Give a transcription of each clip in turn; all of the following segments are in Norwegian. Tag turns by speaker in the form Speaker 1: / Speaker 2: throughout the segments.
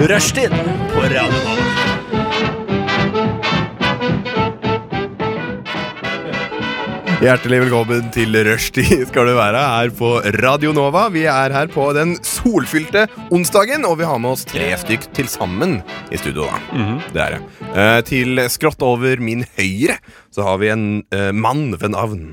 Speaker 1: Rushtid på Radio Nova.
Speaker 2: Hjertelig velkommen til rushtid skal du være her på Radio Nova. Vi er her på den solfylte onsdagen, og vi har med oss tre stykk til sammen i studio. da.
Speaker 3: Mhm.
Speaker 2: Det er det. Eh, til skrått over min høyre så har vi en eh, mann ved navn.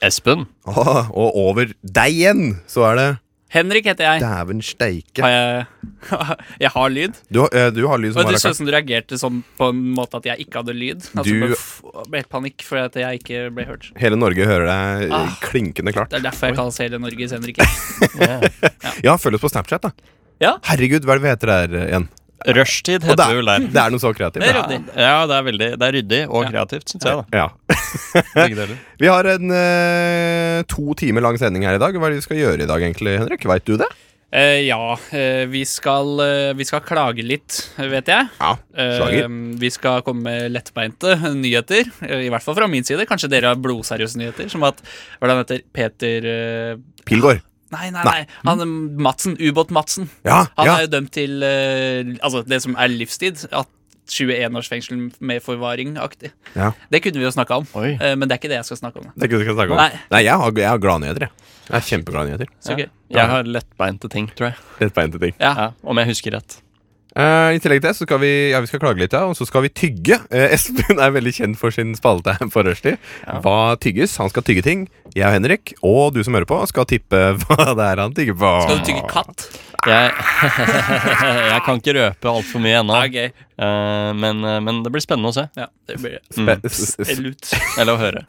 Speaker 3: Espen.
Speaker 2: Ah, og over deg igjen så er det
Speaker 3: Henrik heter jeg.
Speaker 2: Dæven steike.
Speaker 3: Har jeg, jeg har lyd.
Speaker 2: Du, har- eh, du har lyd som
Speaker 3: Og det så ut
Speaker 2: Maracas.
Speaker 3: som du reagerte sånn på en måte at jeg ikke hadde lyd. Altså,
Speaker 2: Du-
Speaker 3: bare f- ble helt panikk for at jeg ikke ble hørt.
Speaker 2: Hele Norge hører deg eh,
Speaker 3: Ah.
Speaker 2: klinkende klart.
Speaker 3: Det er derfor jeg kalles hele Norges Henrik.
Speaker 2: Ja, følg oss på Snapchat, da.
Speaker 3: Ja.
Speaker 2: Herregud, hva er det vi heter der eh, igjen?
Speaker 4: Rushtid
Speaker 2: Og
Speaker 4: heter det vel der.
Speaker 2: det er noe så kreativt.
Speaker 3: Det er
Speaker 2: da.
Speaker 3: ryddig.
Speaker 4: Ja, det er veldig Det er ryddig og kreativt, syns jeg. da
Speaker 2: Ja.
Speaker 4: Begge deler.
Speaker 2: Vi har en eh, to timer lang sending her i dag. Hva er det vi skal gjøre i dag, egentlig, Henrik? Veit du det?
Speaker 3: Eh, ja, eh, vi, skal, eh, vi skal klage litt, vet jeg.
Speaker 2: Ja,
Speaker 3: Eh,
Speaker 2: Slager.
Speaker 3: vi skal komme med lettbeinte nyheter, eh, i hvert fall fra min side. Kanskje dere har blodseriøse nyheter, som at hva er det han heter? Peter eh,
Speaker 2: Pilgaard.
Speaker 3: Nei, nei, nei. Han, eh, Madsen. Ubåt-Madsen.
Speaker 2: Ja,
Speaker 3: Han
Speaker 2: ja.
Speaker 3: er jo dømt til eh, altså det som er livstid. At 21 års fengsel med forvaring-aktig.
Speaker 2: Ja.
Speaker 3: Det kunne vi jo snakka om,
Speaker 4: Oi.
Speaker 3: eh, men det er ikke det jeg skal snakke om.
Speaker 2: Det er ikke det vi skal snakke om.
Speaker 3: Nei.
Speaker 2: Nei, jeg har, jeg har gladnyheter, jeg. Jeg har kjempeglade nyheter.
Speaker 3: Så gøy.
Speaker 4: Jeg har lettbeinte ting, tror jeg.
Speaker 2: Lettbeinte ting.
Speaker 3: Ja.
Speaker 4: Ja, om jeg husker rett.
Speaker 2: Eh, I tillegg til det så skal vi, ja, vi skal klage litt, ja, og så skal vi tygge. Eh, Espen er veldig kjent for sin spalte her på rushtid. Hva tygges? Han skal tygge ting. Jeg og Henrik, og du som hører på, skal tippe hva det er han tygger på.
Speaker 3: Skal du tygge katt?
Speaker 4: Jeg, jeg kan ikke røpe altfor mye ennå,
Speaker 3: Ja, gøy.
Speaker 4: eh, men, men det blir spennende å se.
Speaker 3: Ja, det blir
Speaker 2: Spe- s- s-
Speaker 3: Eller ut.
Speaker 4: Eller å høre.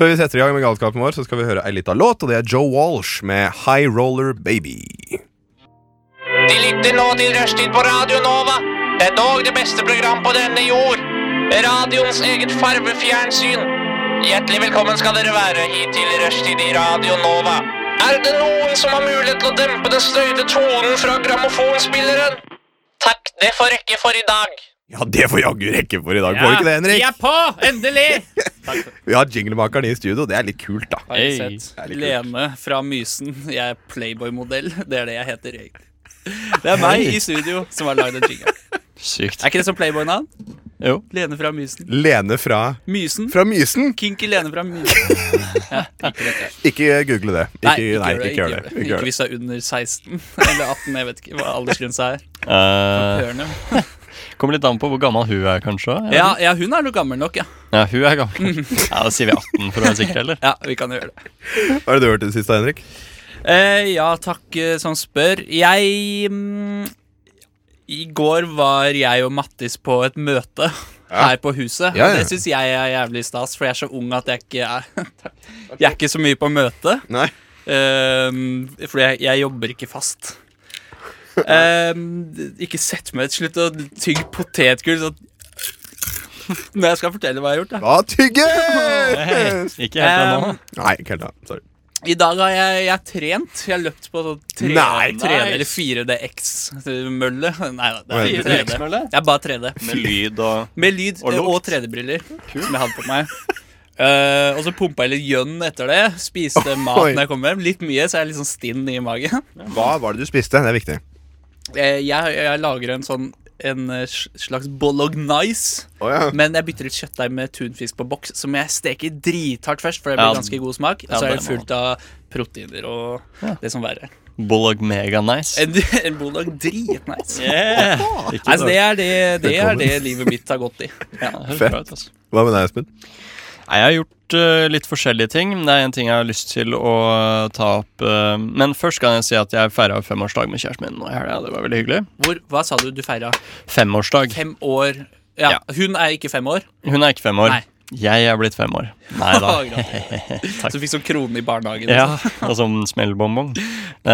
Speaker 2: Før vi setter i gang med galskapen vår, så skal vi høre ei lita låt, og det er Joe Walsh med High Roller Baby.
Speaker 5: De lytter nå til Rushtid på Radio Nova. Det er dog det beste program på denne jord. Radioens eget farvefjernsyn. Hjertelig velkommen skal dere være hit til Rushtid i Radio Nova. Er det noen som har mulighet til å dempe den støyte tonen fra grammofonspilleren? Takk, det får rekke for i dag.
Speaker 2: Ja, det får jaggu rekke for i dag. Får vi ikke det, Henrik?
Speaker 3: Vi er på! Endelig!
Speaker 2: Vi har jinglemakeren i studio. Det er litt kult, da.
Speaker 3: Har jeg
Speaker 4: Hey.
Speaker 3: sett
Speaker 2: Det er litt kult.
Speaker 3: Lene fra Mysen. Jeg er Playboy-modell. Det er det jeg heter egentlig. Det er meg i studio som har lagd en jingle.
Speaker 4: Sykt.
Speaker 3: Er ikke det som Playboy-navn?
Speaker 4: Jo.
Speaker 3: Lene fra Mysen.
Speaker 2: Lene fra,
Speaker 3: Mysen.
Speaker 2: fra Mysen.
Speaker 3: Kinky Lene fra Mysen. Ja, ikke dette.
Speaker 2: Ikke google det. Ikke, nei, ikke, gjør det.
Speaker 3: Ikke,
Speaker 2: Ikke gjør det.
Speaker 3: hvis du er under 16 eller 18. Jeg vet ikke hva aldersgrensa er.
Speaker 4: Eh,
Speaker 3: Hørne.
Speaker 4: kommer litt an på hvor gammel hun er, kanskje.
Speaker 3: Ja, ja, hun er nok gammel nok, ja.
Speaker 4: ja hun er gammel. Ja, Da sier vi 18 for å være sikre, eller?
Speaker 3: Ja, vi kan gjøre det.
Speaker 2: Hva har du hørt i det siste, Henrik?
Speaker 3: Eh, ja, takk eh, som spør. Jeg mm, I går var jeg og Mattis på et møte her på huset.
Speaker 2: Ja, ja.
Speaker 3: Det syns jeg er jævlig stas, for jeg er så ung at jeg ikke er Jeg er ikke så mye på møte.
Speaker 2: Nei.
Speaker 3: Um, fordi jeg, jeg jobber ikke fast. Um, ikke sett meg til slutt og tygg potetgull sånn Når jeg skal fortelle hva jeg har gjort, da.
Speaker 2: Hva tygge?
Speaker 4: Hei, ikke helt ennå.
Speaker 3: Um,
Speaker 2: Nei, ikke helt da. Sorry.
Speaker 3: I dag har jeg, jeg har trent. Jeg har løpt på sånn tre,
Speaker 2: Nei,
Speaker 3: tre
Speaker 4: nice.
Speaker 3: eller 4DX-mølle. Nei da, det
Speaker 2: Hva
Speaker 3: er 3D. Jeg er bare 3D.
Speaker 4: Med lyd og
Speaker 3: Med lyd
Speaker 4: Og
Speaker 3: og,
Speaker 4: lukt.
Speaker 3: 3D-briller som jeg hadde på meg. Eh, og så pumpa jeg litt gjønn etter det. Spiste mat når jeg kom hjem. Litt mye, så jeg er litt sånn stinn i magen.
Speaker 2: Hva var det du spiste? Det er viktig.
Speaker 3: Eh, jeg, jeg lager en sånn en eh, sl- slags bolognese,
Speaker 2: Å ja.
Speaker 3: men jeg bytter ut kjøttdeig med tunfisk på boks, som jeg steker drithardt først, for det blir
Speaker 4: Ja,
Speaker 3: ganske god smak. Og
Speaker 4: ja,
Speaker 3: så er
Speaker 4: det
Speaker 3: det
Speaker 4: må
Speaker 3: fullt av proteiner og
Speaker 4: Ja.
Speaker 3: det som verre. er.
Speaker 4: Bolog Mega Nice.
Speaker 3: En, en bologn dritnice.
Speaker 4: Yeah.
Speaker 3: Nei, så det er det, det, er
Speaker 2: Velkommen.
Speaker 3: det livet mitt har gått i.
Speaker 4: Ja, det høres
Speaker 2: Fett.
Speaker 4: bra ut, altså.
Speaker 2: Hva med deg, Espen?
Speaker 4: Nei, Jeg har gjort eh, litt forskjellige ting. men Det er en ting jeg har lyst til å eh, ta opp. eh, men først kan jeg si at jeg feira femårsdag med kjæresten min nå i helga. Det var veldig hyggelig.
Speaker 3: Hvor, hva sa du du feira?
Speaker 4: Femårsdag.
Speaker 3: Fem år ja,
Speaker 4: Ja.
Speaker 3: Hun er ikke fem år,
Speaker 4: Hun er ikke fem år.
Speaker 3: Nei.
Speaker 4: Jeg er blitt fem år. Nei da.
Speaker 3: Å, gratulerer. så fikk sånn krone i barnehagen. liksom.
Speaker 4: Ja, altså en smellbonbong.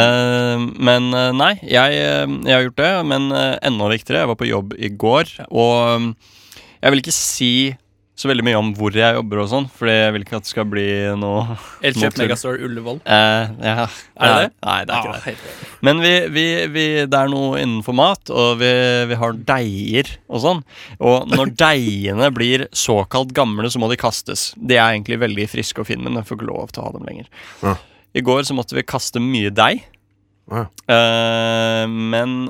Speaker 4: Eh, men eh, nei, jeg, eh, jeg har gjort det. Men eh, enda viktigere, jeg var på jobb i går, og mm, jeg vil ikke si så veldig mye om hvor jeg jobber og sånn, fordi jeg vil ikke at det skal bli noe
Speaker 3: Elkjøp
Speaker 4: Motor.
Speaker 3: Megastore Ullevål.
Speaker 4: Eh, ja.
Speaker 3: Er det det?
Speaker 4: Nei, det er ikke det.
Speaker 3: Ah, helt-
Speaker 4: Men vi, vi, vi, det er noe innenfor mat, og vi, vi har deiger og sånn. Og når deigene blir såkalt gamle, så må de kastes. De er egentlig veldig friske og fine, men jeg får ikke lov til å ha dem lenger.
Speaker 2: Ja.
Speaker 4: I går så måtte vi kaste mye deig,
Speaker 2: Ja.
Speaker 4: eh, men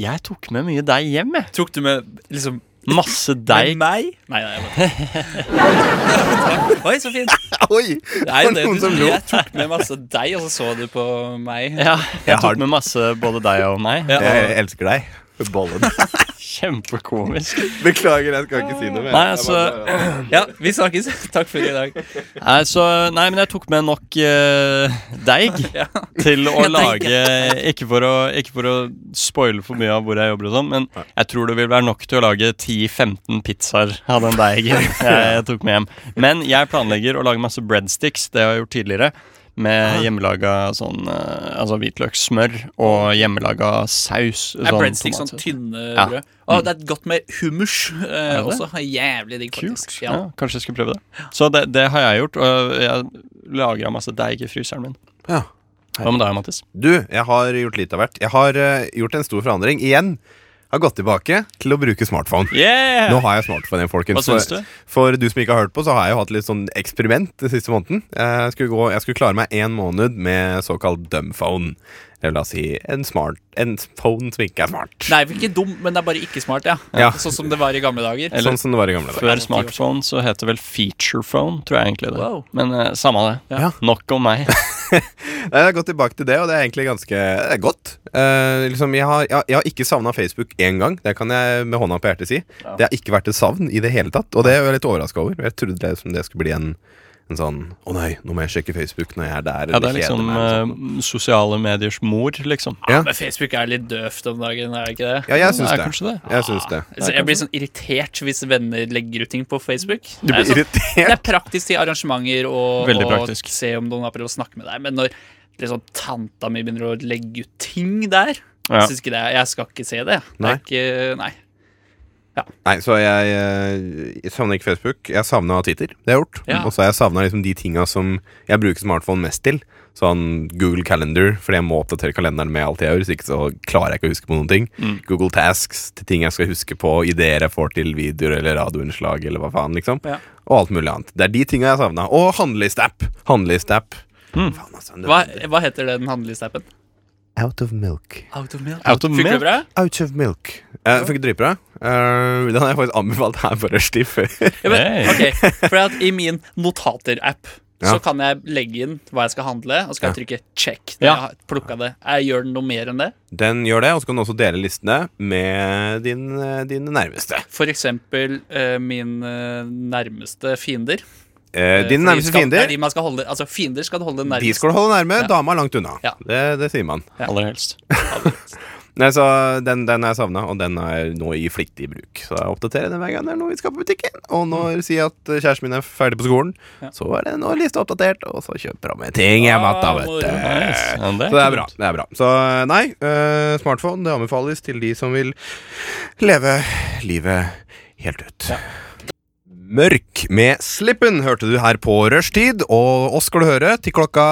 Speaker 4: Jeg tok med mye deig hjem, jeg.
Speaker 3: Tok du med liksom
Speaker 4: Masse deig.
Speaker 3: Med meg? Nei, nei, jeg bare Oi, så fint.
Speaker 2: Oi!
Speaker 3: Det er jo det
Speaker 2: Noen
Speaker 3: du
Speaker 2: som lo.
Speaker 3: Jeg tok med masse deig, og så så du på meg.
Speaker 4: Ja,
Speaker 2: Jeg
Speaker 4: jeg
Speaker 2: har-
Speaker 4: tok med masse både deg og meg.
Speaker 3: Ja.
Speaker 2: Jeg elsker deg. Bollen.
Speaker 4: Kjempekomisk.
Speaker 2: Beklager, jeg skal ikke si noe mer.
Speaker 4: Nei, altså,
Speaker 2: Jeg bare-
Speaker 3: Ja, vi snakkes. Takk for i dag.
Speaker 4: Nei, så, nei, men jeg tok med nok eh, deig
Speaker 3: Ja.
Speaker 4: til å
Speaker 3: Ja, deig.
Speaker 4: lage ikke for å, ikke for å spoile for mye av hvor jeg jobber, og sånn, men jeg tror det vil være nok til å lage 10-15 pizzaer av den deigen jeg tok med hjem. Men jeg planlegger å lage masse breadsticks, det har jeg gjort tidligere.
Speaker 3: Ah.
Speaker 4: Med hjemmelaga sånn, eh, altså hvitløkssmør og hjemmelaga saus.
Speaker 3: Er
Speaker 4: sånn
Speaker 3: breadsticks sånn
Speaker 4: tomatsaus.
Speaker 3: tynne
Speaker 4: Ja. Mm.
Speaker 3: brød? Å, det er godt med hummus eh,
Speaker 4: det?
Speaker 3: også. Jævlig digg,
Speaker 4: Kult.
Speaker 3: faktisk.
Speaker 4: Ja. kanskje jeg skulle prøve det. Så det, det har jeg gjort. Og jeg lagra masse deig i fryseren min.
Speaker 2: Ja.
Speaker 4: Hva med deg, Mattis?
Speaker 2: Du, jeg har gjort litt av hvert. Jeg har eh, gjort en stor forandring. Igjen har gått tilbake til å bruke smartphone.
Speaker 4: Yeah!
Speaker 2: Nå har jeg smartphone igjen, folkens.
Speaker 4: Hva syns du?
Speaker 2: For, for du som ikke har hørt på, så har jeg jo hatt litt sånn eksperiment den siste måneden. Jeg skulle, gå, jeg skulle klare meg én måned med såkalt dumphone. Eller la oss si en, smart, en phone som ikke er smart.
Speaker 3: Nei, ikke dum, men det er bare ikke smart, ja.
Speaker 2: Ja.
Speaker 3: Sånn som det var i gamle dager.
Speaker 4: eller-
Speaker 2: sånn som det var i gamle dager.
Speaker 4: Før smartphone så het det vel featurephone, tror jeg egentlig det.
Speaker 3: Wow.
Speaker 4: Men eh, samme det.
Speaker 2: Ja.
Speaker 4: Nok om meg.
Speaker 2: Nei, Jeg har gått tilbake til det, og det er egentlig ganske det er godt. Eh, liksom, jeg, har, jeg, jeg har ikke savna Facebook én gang. Det kan jeg med hånda på hjertet si. Det har ikke vært et savn i det hele tatt, og det er jeg litt overraska over. Jeg trodde det, som det skulle bli en, en sånn Å nei, nå må jeg sjekke Facebook når jeg er der.
Speaker 4: Ja,
Speaker 2: eller
Speaker 4: det er
Speaker 2: kjeder
Speaker 4: liksom
Speaker 2: meg», eller sånn. sånt.
Speaker 4: eh, sosiale mediers mor, liksom.
Speaker 2: ja.
Speaker 3: Men Facebook er litt døvt om dagen, er det ikke det?
Speaker 2: ja, jeg syns
Speaker 4: Det er
Speaker 2: det.
Speaker 4: kanskje det.
Speaker 2: Jeg syns det.
Speaker 3: Så jeg blir sånn irritert hvis venner legger ut ting på Facebook.
Speaker 2: Du
Speaker 3: Det er
Speaker 2: blir
Speaker 3: sånn- Det
Speaker 2: irritert.
Speaker 3: er praktisk til arrangementer og,
Speaker 4: Veldig
Speaker 3: og
Speaker 4: praktisk.
Speaker 3: se om noen har prøvd å snakke med deg. Men når liksom, tanta mi begynner å legge ut ting der
Speaker 4: Ja.
Speaker 3: synes ikke det, Jeg skal ikke se det. Det
Speaker 2: Nei.
Speaker 3: er ikke, nei.
Speaker 2: Nei, så jeg, eh, jeg savner ikke Facebook. Jeg savna Twitter. Det har jeg gjort.
Speaker 3: Ja.
Speaker 2: Og så har jeg savna liksom de tinga som jeg bruker smartphone mest til. Sånn Google Calendar, fordi jeg må oppdatere kalenderen med alt jeg gjør. Hvis ikke så klarer jeg ikke å huske på noen ting.
Speaker 3: Mm.
Speaker 2: Google Tasks til ting jeg skal huske på, ideer jeg får til videoer eller radioinnslag eller hva faen, liksom.
Speaker 3: Ja.
Speaker 2: Og alt mulig annet. Det er de tinga jeg savna. Og handlelisteapp. Handlelisteapp. Faen, altså. det-
Speaker 3: Mm. Hva, hva heter den handlelistappen?
Speaker 2: Out of milk.
Speaker 3: Out of milk.
Speaker 4: Out of
Speaker 3: Funker det
Speaker 4: milk?
Speaker 3: bra?
Speaker 2: Out of milk. Uh, Funker dritbra. Eh, den har jeg faktisk anbefalt her på Rushdie før.
Speaker 3: Ja, men,
Speaker 4: Hey.
Speaker 3: ok, for at I min notater-app
Speaker 2: Ja.
Speaker 3: så kan jeg legge inn hva jeg skal handle, og så kan jeg trykke 'check'. når
Speaker 4: Ja.
Speaker 3: Jeg har plukket det. Jeg gjør den noe mer enn det.
Speaker 2: Den gjør det, og så kan du også dele listene med din, eh, dine nærmeste.
Speaker 3: For eksempel eh, min eh, nærmeste fiender.
Speaker 2: Eh, dine
Speaker 3: Fordi
Speaker 2: nærmeste
Speaker 3: skal, Det er
Speaker 2: fiender,
Speaker 3: de man skal holde, altså Fiender skal du holde nærmest.
Speaker 2: de skal du holde nærme. Dama langt unna.
Speaker 3: Ja.
Speaker 2: Det, det sier man.
Speaker 4: Aller helst.
Speaker 2: Eh, Nei, så Den, den er savna, og den er nå i flittig bruk. Så jeg oppdaterer den hver gang det er noe vi skal på butikken. Og når sier jeg at eh, kjæresten min er ferdig på skolen, så er det nå lista oppdatert, og så kjøper han meg ting hjem igjen, da,
Speaker 3: Ah,
Speaker 2: vet
Speaker 3: moro.
Speaker 2: du.
Speaker 4: Nice. Ja, det
Speaker 2: Så det er
Speaker 4: ikke
Speaker 2: bra.
Speaker 4: dumt.
Speaker 2: det er bra Så nei, eh, smartphone det anbefales til de som vil leve livet helt ut. Mørk med Slippen hørte du her på rushtid, og oss skal du høre til klokka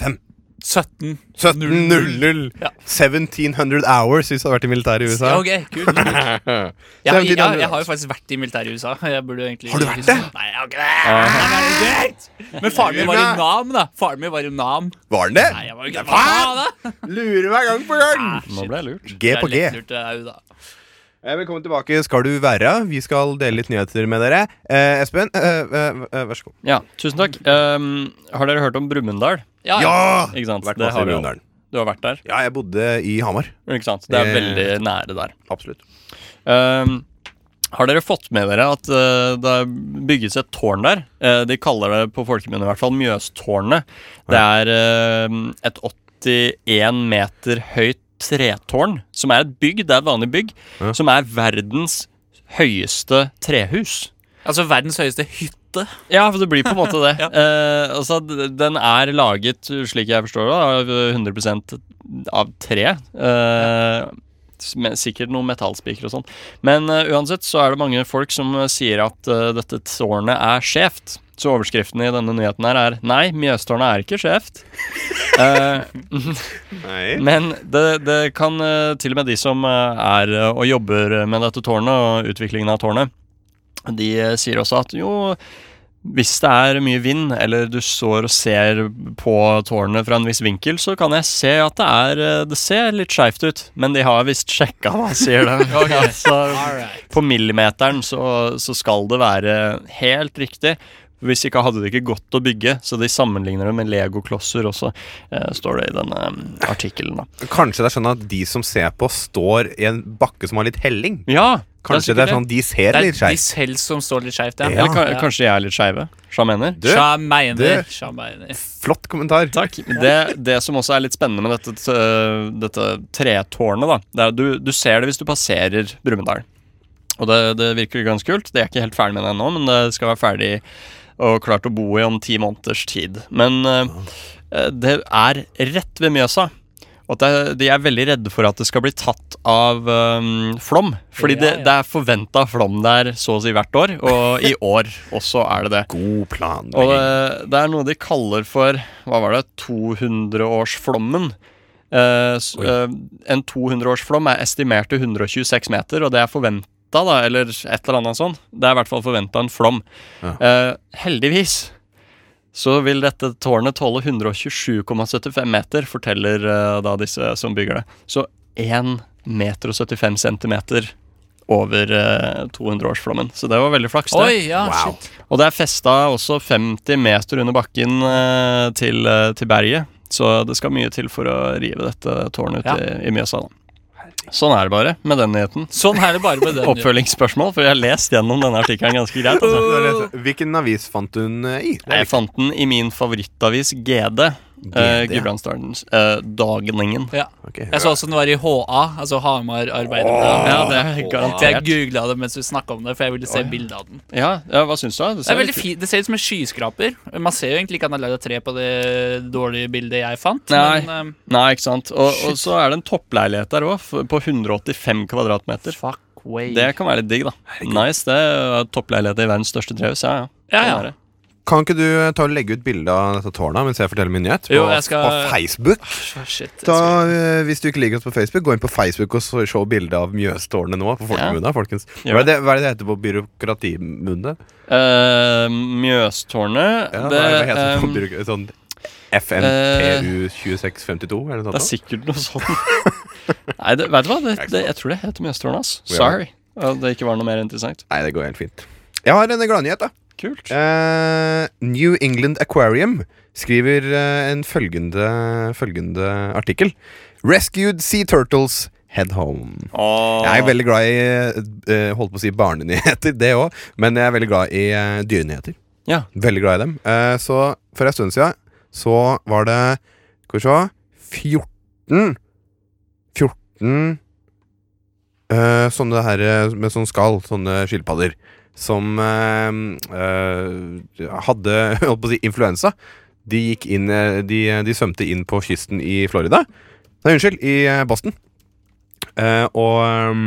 Speaker 2: fem.
Speaker 3: 17.
Speaker 2: 17.00.
Speaker 3: Ja.
Speaker 2: 1700 hours hvis du hadde vært i militæret i
Speaker 3: Ja,
Speaker 2: USA.
Speaker 3: ok, kult. Jeg, har- jeg,
Speaker 2: 1700
Speaker 3: jeg har jo faktisk vært i militæret i USA. Jeg burde jo egentlig
Speaker 2: Har du vært det?
Speaker 3: Nei, jeg har ikke
Speaker 4: Ah.
Speaker 3: det. det. er jo greit. Men faren min var i Nam, da. Faren min var i Nam.
Speaker 2: Var den det?
Speaker 3: Nei, jeg var jo ikke
Speaker 2: Hva?
Speaker 3: Hva da?
Speaker 2: Lurer meg gang på gang!
Speaker 4: Nå ble jeg lurt.
Speaker 2: G på
Speaker 3: Det
Speaker 2: G.
Speaker 3: er litt lurt, det er jo da.
Speaker 2: Eh, Velkommen tilbake skal du være. Vi skal dele litt nyheter med dere. Eh, Espen, eh, eh, eh, vær så god.
Speaker 4: Ja, tusen takk. Um, har dere hørt om Brumunddal?
Speaker 3: Ja, ja.
Speaker 2: Ja!
Speaker 4: Ikke sant?
Speaker 2: Vært
Speaker 4: Det
Speaker 2: masse
Speaker 4: har
Speaker 2: i
Speaker 4: vi jo.
Speaker 2: Brumunddal.
Speaker 4: Du har vært der?
Speaker 2: Ja, jeg bodde i Hamar.
Speaker 4: Ikke sant? Det er
Speaker 2: Eh.
Speaker 4: veldig nære der.
Speaker 2: Absolutt.
Speaker 4: Ehm, har dere fått med dere at eh, det bygges et tårn der? Eh, de kaller det på folkemunne i hvert fall Mjøstårnet. Det er eh, et 81 meter høyt tretårn, som er et bygg, det er et vanlig bygg, som er verdens høyeste trehus.
Speaker 3: Altså verdens høyeste hytte.
Speaker 4: Ja, for det blir på en måte det. Eh, altså, d- den er laget, slik jeg forstår det, av 100 av tre. Eh, s- men Sikkert noen metallspiker og sånn. Men eh, uansett så er det mange folk som eh, sier at eh, dette tårnet er skjevt. Så overskriften i denne nyheten her er 'Nei, Mjøstårnet er ikke skjevt'. Eh,
Speaker 2: Nei.
Speaker 4: men det, det kan eh, til og med de som eh, er eh, og jobber med dette tårnet og utviklingen av tårnet, de eh, sier også at jo, Hvis det er mye vind, eller du står og ser på tårnet fra en viss vinkel, så kan jeg se at det er eh, Det ser litt skeivt ut, men de har visst sjekka hva sier de. altså, på millimeteren så, så skal det være helt riktig. Hvis ikke hadde det ikke gått å bygge, så de sammenligner det med legoklosser også, eh, står det i denne eh, artikkelen. da.
Speaker 2: Kanskje det er sånn at de som ser på, står i en bakke som har litt helling.
Speaker 4: Ja,
Speaker 2: Kanskje det er sånn de ser
Speaker 3: Det er
Speaker 2: litt
Speaker 3: de
Speaker 2: skeivt.
Speaker 3: selv som står litt skeivt,
Speaker 2: Ja.
Speaker 4: Eller ka kanskje de er litt skeive. Sja mener.
Speaker 2: Du,
Speaker 3: Sja mener.
Speaker 2: det-
Speaker 3: Sja mener.
Speaker 2: flott kommentar.
Speaker 4: Takk. Det, det som også er litt spennende med dette, t- dette tretårnet, da, det er at du, du ser det hvis du passerer Brumunddal. Og det, det virker ganske kult. Det er ikke helt ferdig med det ennå, men det skal være ferdig og klart å bo i om ti måneders tid. Men eh, eh, det er rett ved Mjøsa. Og at det, er- de er veldig redde for at det skal bli tatt av eh, flom. Fordi
Speaker 3: Ja,
Speaker 4: det,
Speaker 3: ja.
Speaker 4: det er forventa flom der så å si hvert år, og i år også er det det.
Speaker 2: God plan.
Speaker 4: Og eh, det, det er noe de kaller for Hva var det? 200-årsflommen. Eh, s- eh, en 200-årsflom er estimert til 126 meter, og det er forventa, da, eller et eller annet sånt. Det er i hvert fall forventa en flom. Eh, heldigvis så vil dette tårnet tåle 127,75 meter, forteller eh, da disse som bygger det. Så 1 meter og 75 centimeter over eh, 200-årsflommen. Så det var veldig flaks, det.
Speaker 3: Oi, ja,
Speaker 2: Wow.
Speaker 3: ah, shit.
Speaker 4: Og det er festa også 50 meter under bakken eh, til, eh, til berget. Så det skal mye til for å rive dette tårnet ut
Speaker 3: Ja.
Speaker 4: i, i Mjøsa. Da. Sånn er det bare med den nyheten.
Speaker 3: Sånn er det bare med den. jo.
Speaker 4: Oppfølgingsspørsmål, for jeg har lest gjennom denne artikkelen ganske greit. Altså.
Speaker 2: Hvilken avis fant hun eh, i? Det er
Speaker 4: Jeg fant den i min favorittavis GD. Eh,
Speaker 2: GD, ja.
Speaker 4: Gudbrandsdalens eh, Dagningen.
Speaker 3: Ja.
Speaker 2: viktig.
Speaker 3: Jeg så også den var i HA, altså Hamar Arbeiderblad.
Speaker 4: Ja, det er
Speaker 3: Så jeg
Speaker 4: garantert.
Speaker 3: googla det mens vi snakka om det, for jeg ville se bilde av den.
Speaker 4: Ja, ja, hva syns du? da?
Speaker 3: Det,
Speaker 4: ser
Speaker 3: er veldig
Speaker 4: litt-
Speaker 3: fint. det ser ut som en skyskraper. Man ser jo egentlig ikke at den er lagd av tre på det dårlige bildet jeg fant.
Speaker 4: Nei.
Speaker 3: Men, um,
Speaker 4: Nei, ikke sant. Og, og så er det en toppleilighet der òg, på 185 kvadratmeter.
Speaker 3: fuck way.
Speaker 4: Det kan være litt digg, da. Nice, det er Toppleilighet i verdens største trehus. Ja, ja.
Speaker 3: Ja,
Speaker 4: Sånn
Speaker 3: ja.
Speaker 4: er det.
Speaker 2: Kan ikke du eh, ta og legge ut bilde av dette tårnet mens jeg forteller min nyhet? På,
Speaker 3: Jo, jeg skal-
Speaker 2: på Facebook.
Speaker 3: Åh, shit, jeg
Speaker 2: Da,
Speaker 3: skal-
Speaker 2: eh, hvis du ikke liker oss på Facebook, gå inn på Facebook og så- se bilde av Mjøstårnet nå. På folkemunna, folkens. Hva er, det, hva er det det heter på byråkratimunne?
Speaker 4: Eh, Mjøstårnet
Speaker 2: Ja,
Speaker 4: det,
Speaker 2: hva er det heter det på
Speaker 4: ehm,
Speaker 2: byråk- sånn FMPU 2652? Er det
Speaker 4: eh, det
Speaker 2: noe
Speaker 4: er
Speaker 2: sånt?
Speaker 4: sikkert noe sånt. Nei, det, vet du hva? Det, det, jeg tror det heter Mjøstårnet. ass.
Speaker 2: Ja.
Speaker 4: Sorry. At det ikke var noe mer interessant.
Speaker 2: nå? Nei, det går helt fint. Jeg har en gladnyhet, da.
Speaker 4: Kult.
Speaker 2: Eh, New England Aquarium skriver eh, en følgende, følgende artikkel. Rescued sea turtles head home. Jeg er veldig glad i eh, holdt på å si barnenyheter, det òg, men jeg er veldig glad i eh, dyrenyheter.
Speaker 4: Ja.
Speaker 2: Veldig glad i dem. Eh, så for en stund siden så var det Skal vi se 14 14 eh, sånne her eh, med sånn skall, sånne skilpadder, som eh, eh, hadde holdt på å si influensa. De gikk inn eh, De, de svømte inn på kysten i Florida. Nei, unnskyld, i eh, Boston. Eh, og ehm,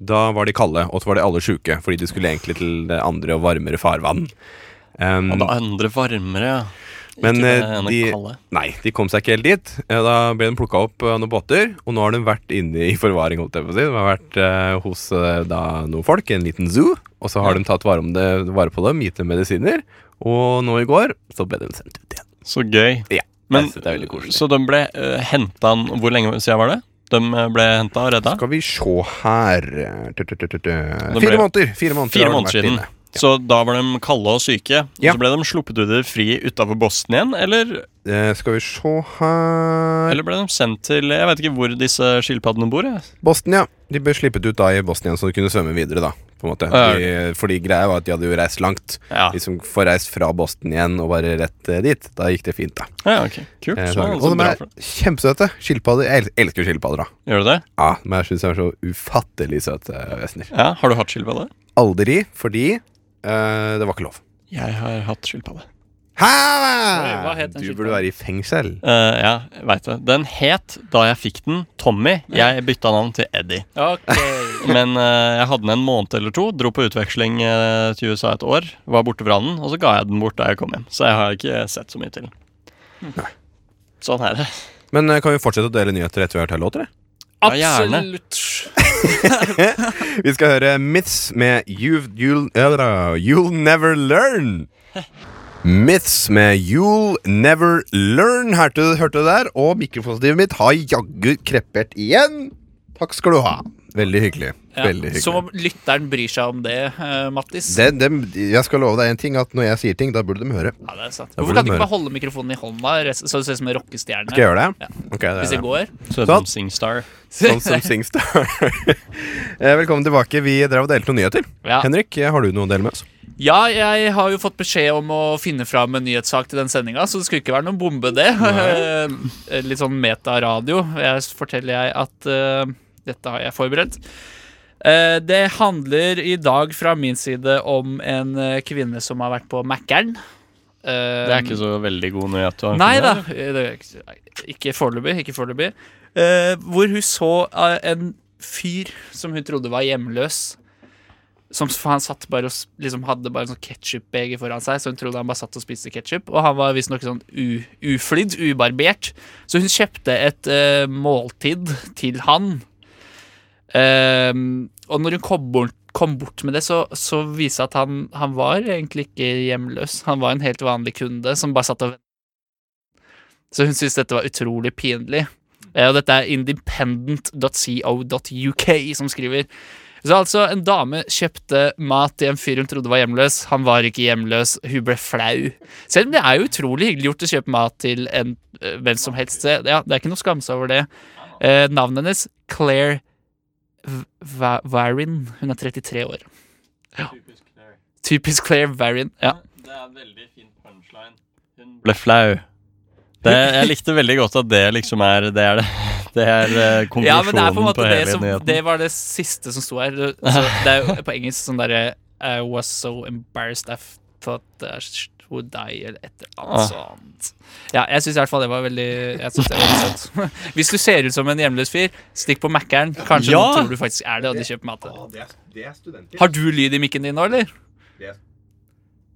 Speaker 2: da var de kalde, og så var de alle sjuke, fordi de skulle egentlig til det andre og varmere farvann. Ehm,
Speaker 4: Og det andre varmere, ja.
Speaker 2: Men,
Speaker 4: ikke det
Speaker 2: eh,
Speaker 4: ene
Speaker 2: de-
Speaker 4: kalde.
Speaker 2: Nei, de kom seg ikke helt dit. Eh, Da ble de plukka opp av noen båter, og nå har de vært inne i forvaring. holdt jeg på å si. De har vært eh, hos eh, da, noen folk i en liten zoo, og så har de tatt vare, om det, vare på dem, gitt dem medisiner, og nå i går så ble de sendt ut igjen.
Speaker 4: Så gøy.
Speaker 2: Ja,
Speaker 4: Men,
Speaker 2: jeg synes det er veldig koselig.
Speaker 4: så de ble uh, henta Hvor lenge siden var det? De eh, ble henta og redda?
Speaker 2: Skal vi se her eh, Tut, tut, tut, tut. Fire måneder! Fire måneder,
Speaker 4: Fire
Speaker 2: har de
Speaker 4: måneder
Speaker 2: vært
Speaker 4: siden.
Speaker 2: inne.
Speaker 4: Så da var de kalde og syke.
Speaker 2: Ja.
Speaker 4: Og så ble de sluppet ut i det fri utafor Boston igjen, eller,
Speaker 2: Eh, skal vi se her
Speaker 4: eller ble de sendt til Jeg vet ikke hvor disse skilpaddene bor. Jeg.
Speaker 2: Boston, ja. De ble slippet ut da i Boston igjen, så de kunne svømme videre, da. På en måte.
Speaker 4: Ja.
Speaker 2: De, fordi greia var at de hadde jo reist langt.
Speaker 4: Ja.
Speaker 2: De som får reist fra Boston igjen og bare rett eh, dit. Da gikk det fint, da.
Speaker 4: ja, ok. Kult.
Speaker 2: Eh,
Speaker 4: Så,
Speaker 2: så-
Speaker 4: alle
Speaker 2: og
Speaker 4: som
Speaker 2: de
Speaker 4: drar
Speaker 2: er
Speaker 4: fra-
Speaker 2: kjempesøte. Skilpadder. Jeg el- elsker jo skilpadder, da.
Speaker 4: Gjør du det?
Speaker 2: Ja, men jeg syns de er så ufattelig søte vesener.
Speaker 4: Ja, Har du hatt skilpadde?
Speaker 2: Aldri fordi eh, det var ikke lov.
Speaker 4: Jeg har hatt skilpadde.
Speaker 2: Hæ?
Speaker 3: Oi, hva het den
Speaker 2: du burde
Speaker 3: skilpadden?
Speaker 2: være i fengsel.
Speaker 4: Eh, ja, jeg vet det. Den het, da jeg fikk den, Tommy. Jeg bytta navn til Eddie.
Speaker 3: Ok.
Speaker 4: Men eh, jeg hadde den en måned eller to, dro på utveksling eh, til USA et år, var borte fra den, og så ga jeg den bort da jeg kom hjem. Så jeg har ikke sett så mye til den. Sånn er det.
Speaker 2: Men eh, kan vi fortsette å dele nyheter etter vi har hørt her låter? eller?
Speaker 4: Ja, gjerne.
Speaker 3: Absolutt.
Speaker 2: Vi skal høre Myths med You've, you'll, eller, you'll Never Learn. Myths med You'll Never Learn, hørte, hørte du der. Og mikrofonstativet mitt har jaggu krepert igjen. Takk skal du ha. Veldig hyggelig. Veldig hyggelig.
Speaker 3: Som om lytteren bryr seg om det, eh, Mattis.
Speaker 2: Det, det- jeg skal love deg en ting, at når jeg sier ting, da burde de høre.
Speaker 3: ja, det er sant.
Speaker 2: Da får
Speaker 3: Hvorfor kan
Speaker 2: du
Speaker 3: du ikke
Speaker 2: høre.
Speaker 3: bare holde mikrofonen i hånda rest- så det ser ut som en rockestjerne?
Speaker 2: Skal jeg gjøre det?
Speaker 3: Ja.
Speaker 2: Ok, det er
Speaker 3: Hvis det
Speaker 2: det.
Speaker 3: går?
Speaker 4: Så det er sånn Singstar.
Speaker 2: Sånn som Singstar. Eh, Velkommen tilbake. Vi drev og delte noen nyheter.
Speaker 3: Ja.
Speaker 2: Henrik, eh, har du noe å dele med oss?
Speaker 3: Ja, jeg har jo fått beskjed om å finne fram en nyhetssak til den sendinga, så det skulle ikke være noen bombe, det. Litt sånn metaradio. Jeg s- forteller jeg at eh, dette har jeg forberedt. Eh, det handler i dag fra min side om en eh, kvinne som har vært på Mækkern. Eh,
Speaker 4: Det er ikke så veldig god nyhet. å ha
Speaker 3: Nei
Speaker 4: funnet,
Speaker 3: da.
Speaker 4: eller?
Speaker 3: eh, det er ikke- nei, Ikke foreløpig. Ikke foreløpig. Eh, hvor hun så eh, en fyr som hun trodde var hjemløs. Som s- for han satt bare og s- liksom hadde bare en sånn ketsjupbeger foran seg, så hun trodde han bare satt og spiste ketsjup. Og han var visstnok sånn u, uflidd, ubarbert. Så hun kjøpte et eh, måltid til han. Eh, og når hun kom bort, kom bort med det, så, så viste det seg at han, han var egentlig ikke hjemløs. Han var en helt vanlig kunde som bare satt og så hun syntes dette var utrolig pinlig. Eh, Og dette er independent.co.uk som skriver. Så altså, en dame kjøpte mat til en fyr hun trodde var hjemløs. Han var ikke hjemløs, hun ble flau. Selv om det er jo utrolig hyggelig gjort å kjøpe mat til en eh, hvem som helst. Det- Ja, det er ikke noe å skamme seg over det. Eh, navnet hennes Claire V- Va- Varin. Hun er 33 år. Ja. Typisk Claire Varin. Ja.
Speaker 4: Det er en veldig fin punchline. Hun ble flau. Det, jeg likte veldig godt at det liksom er Det er, det, det er eh, konklusjonen
Speaker 3: Ja, men det er på en måte det
Speaker 4: hele
Speaker 3: som
Speaker 4: nyheten.
Speaker 3: Det var det siste som sto her. Det- Så det er jo på engelsk sånn derre I was so embarrassed I thought I sh- would die, eller et eller
Speaker 4: Ah.
Speaker 3: annet sånt. Ja, jeg syns i hvert fall det var veldig Jeg synes det var veldig søtt. Hvis du ser ut som en hjemløs fyr, stikk på Mækkern. Kanskje
Speaker 4: Ja.
Speaker 3: noen tror du faktisk er det, og de kjøper mat. til deg.
Speaker 2: Det er, studenttips.
Speaker 3: Har du lyd i mikken din nå, eller?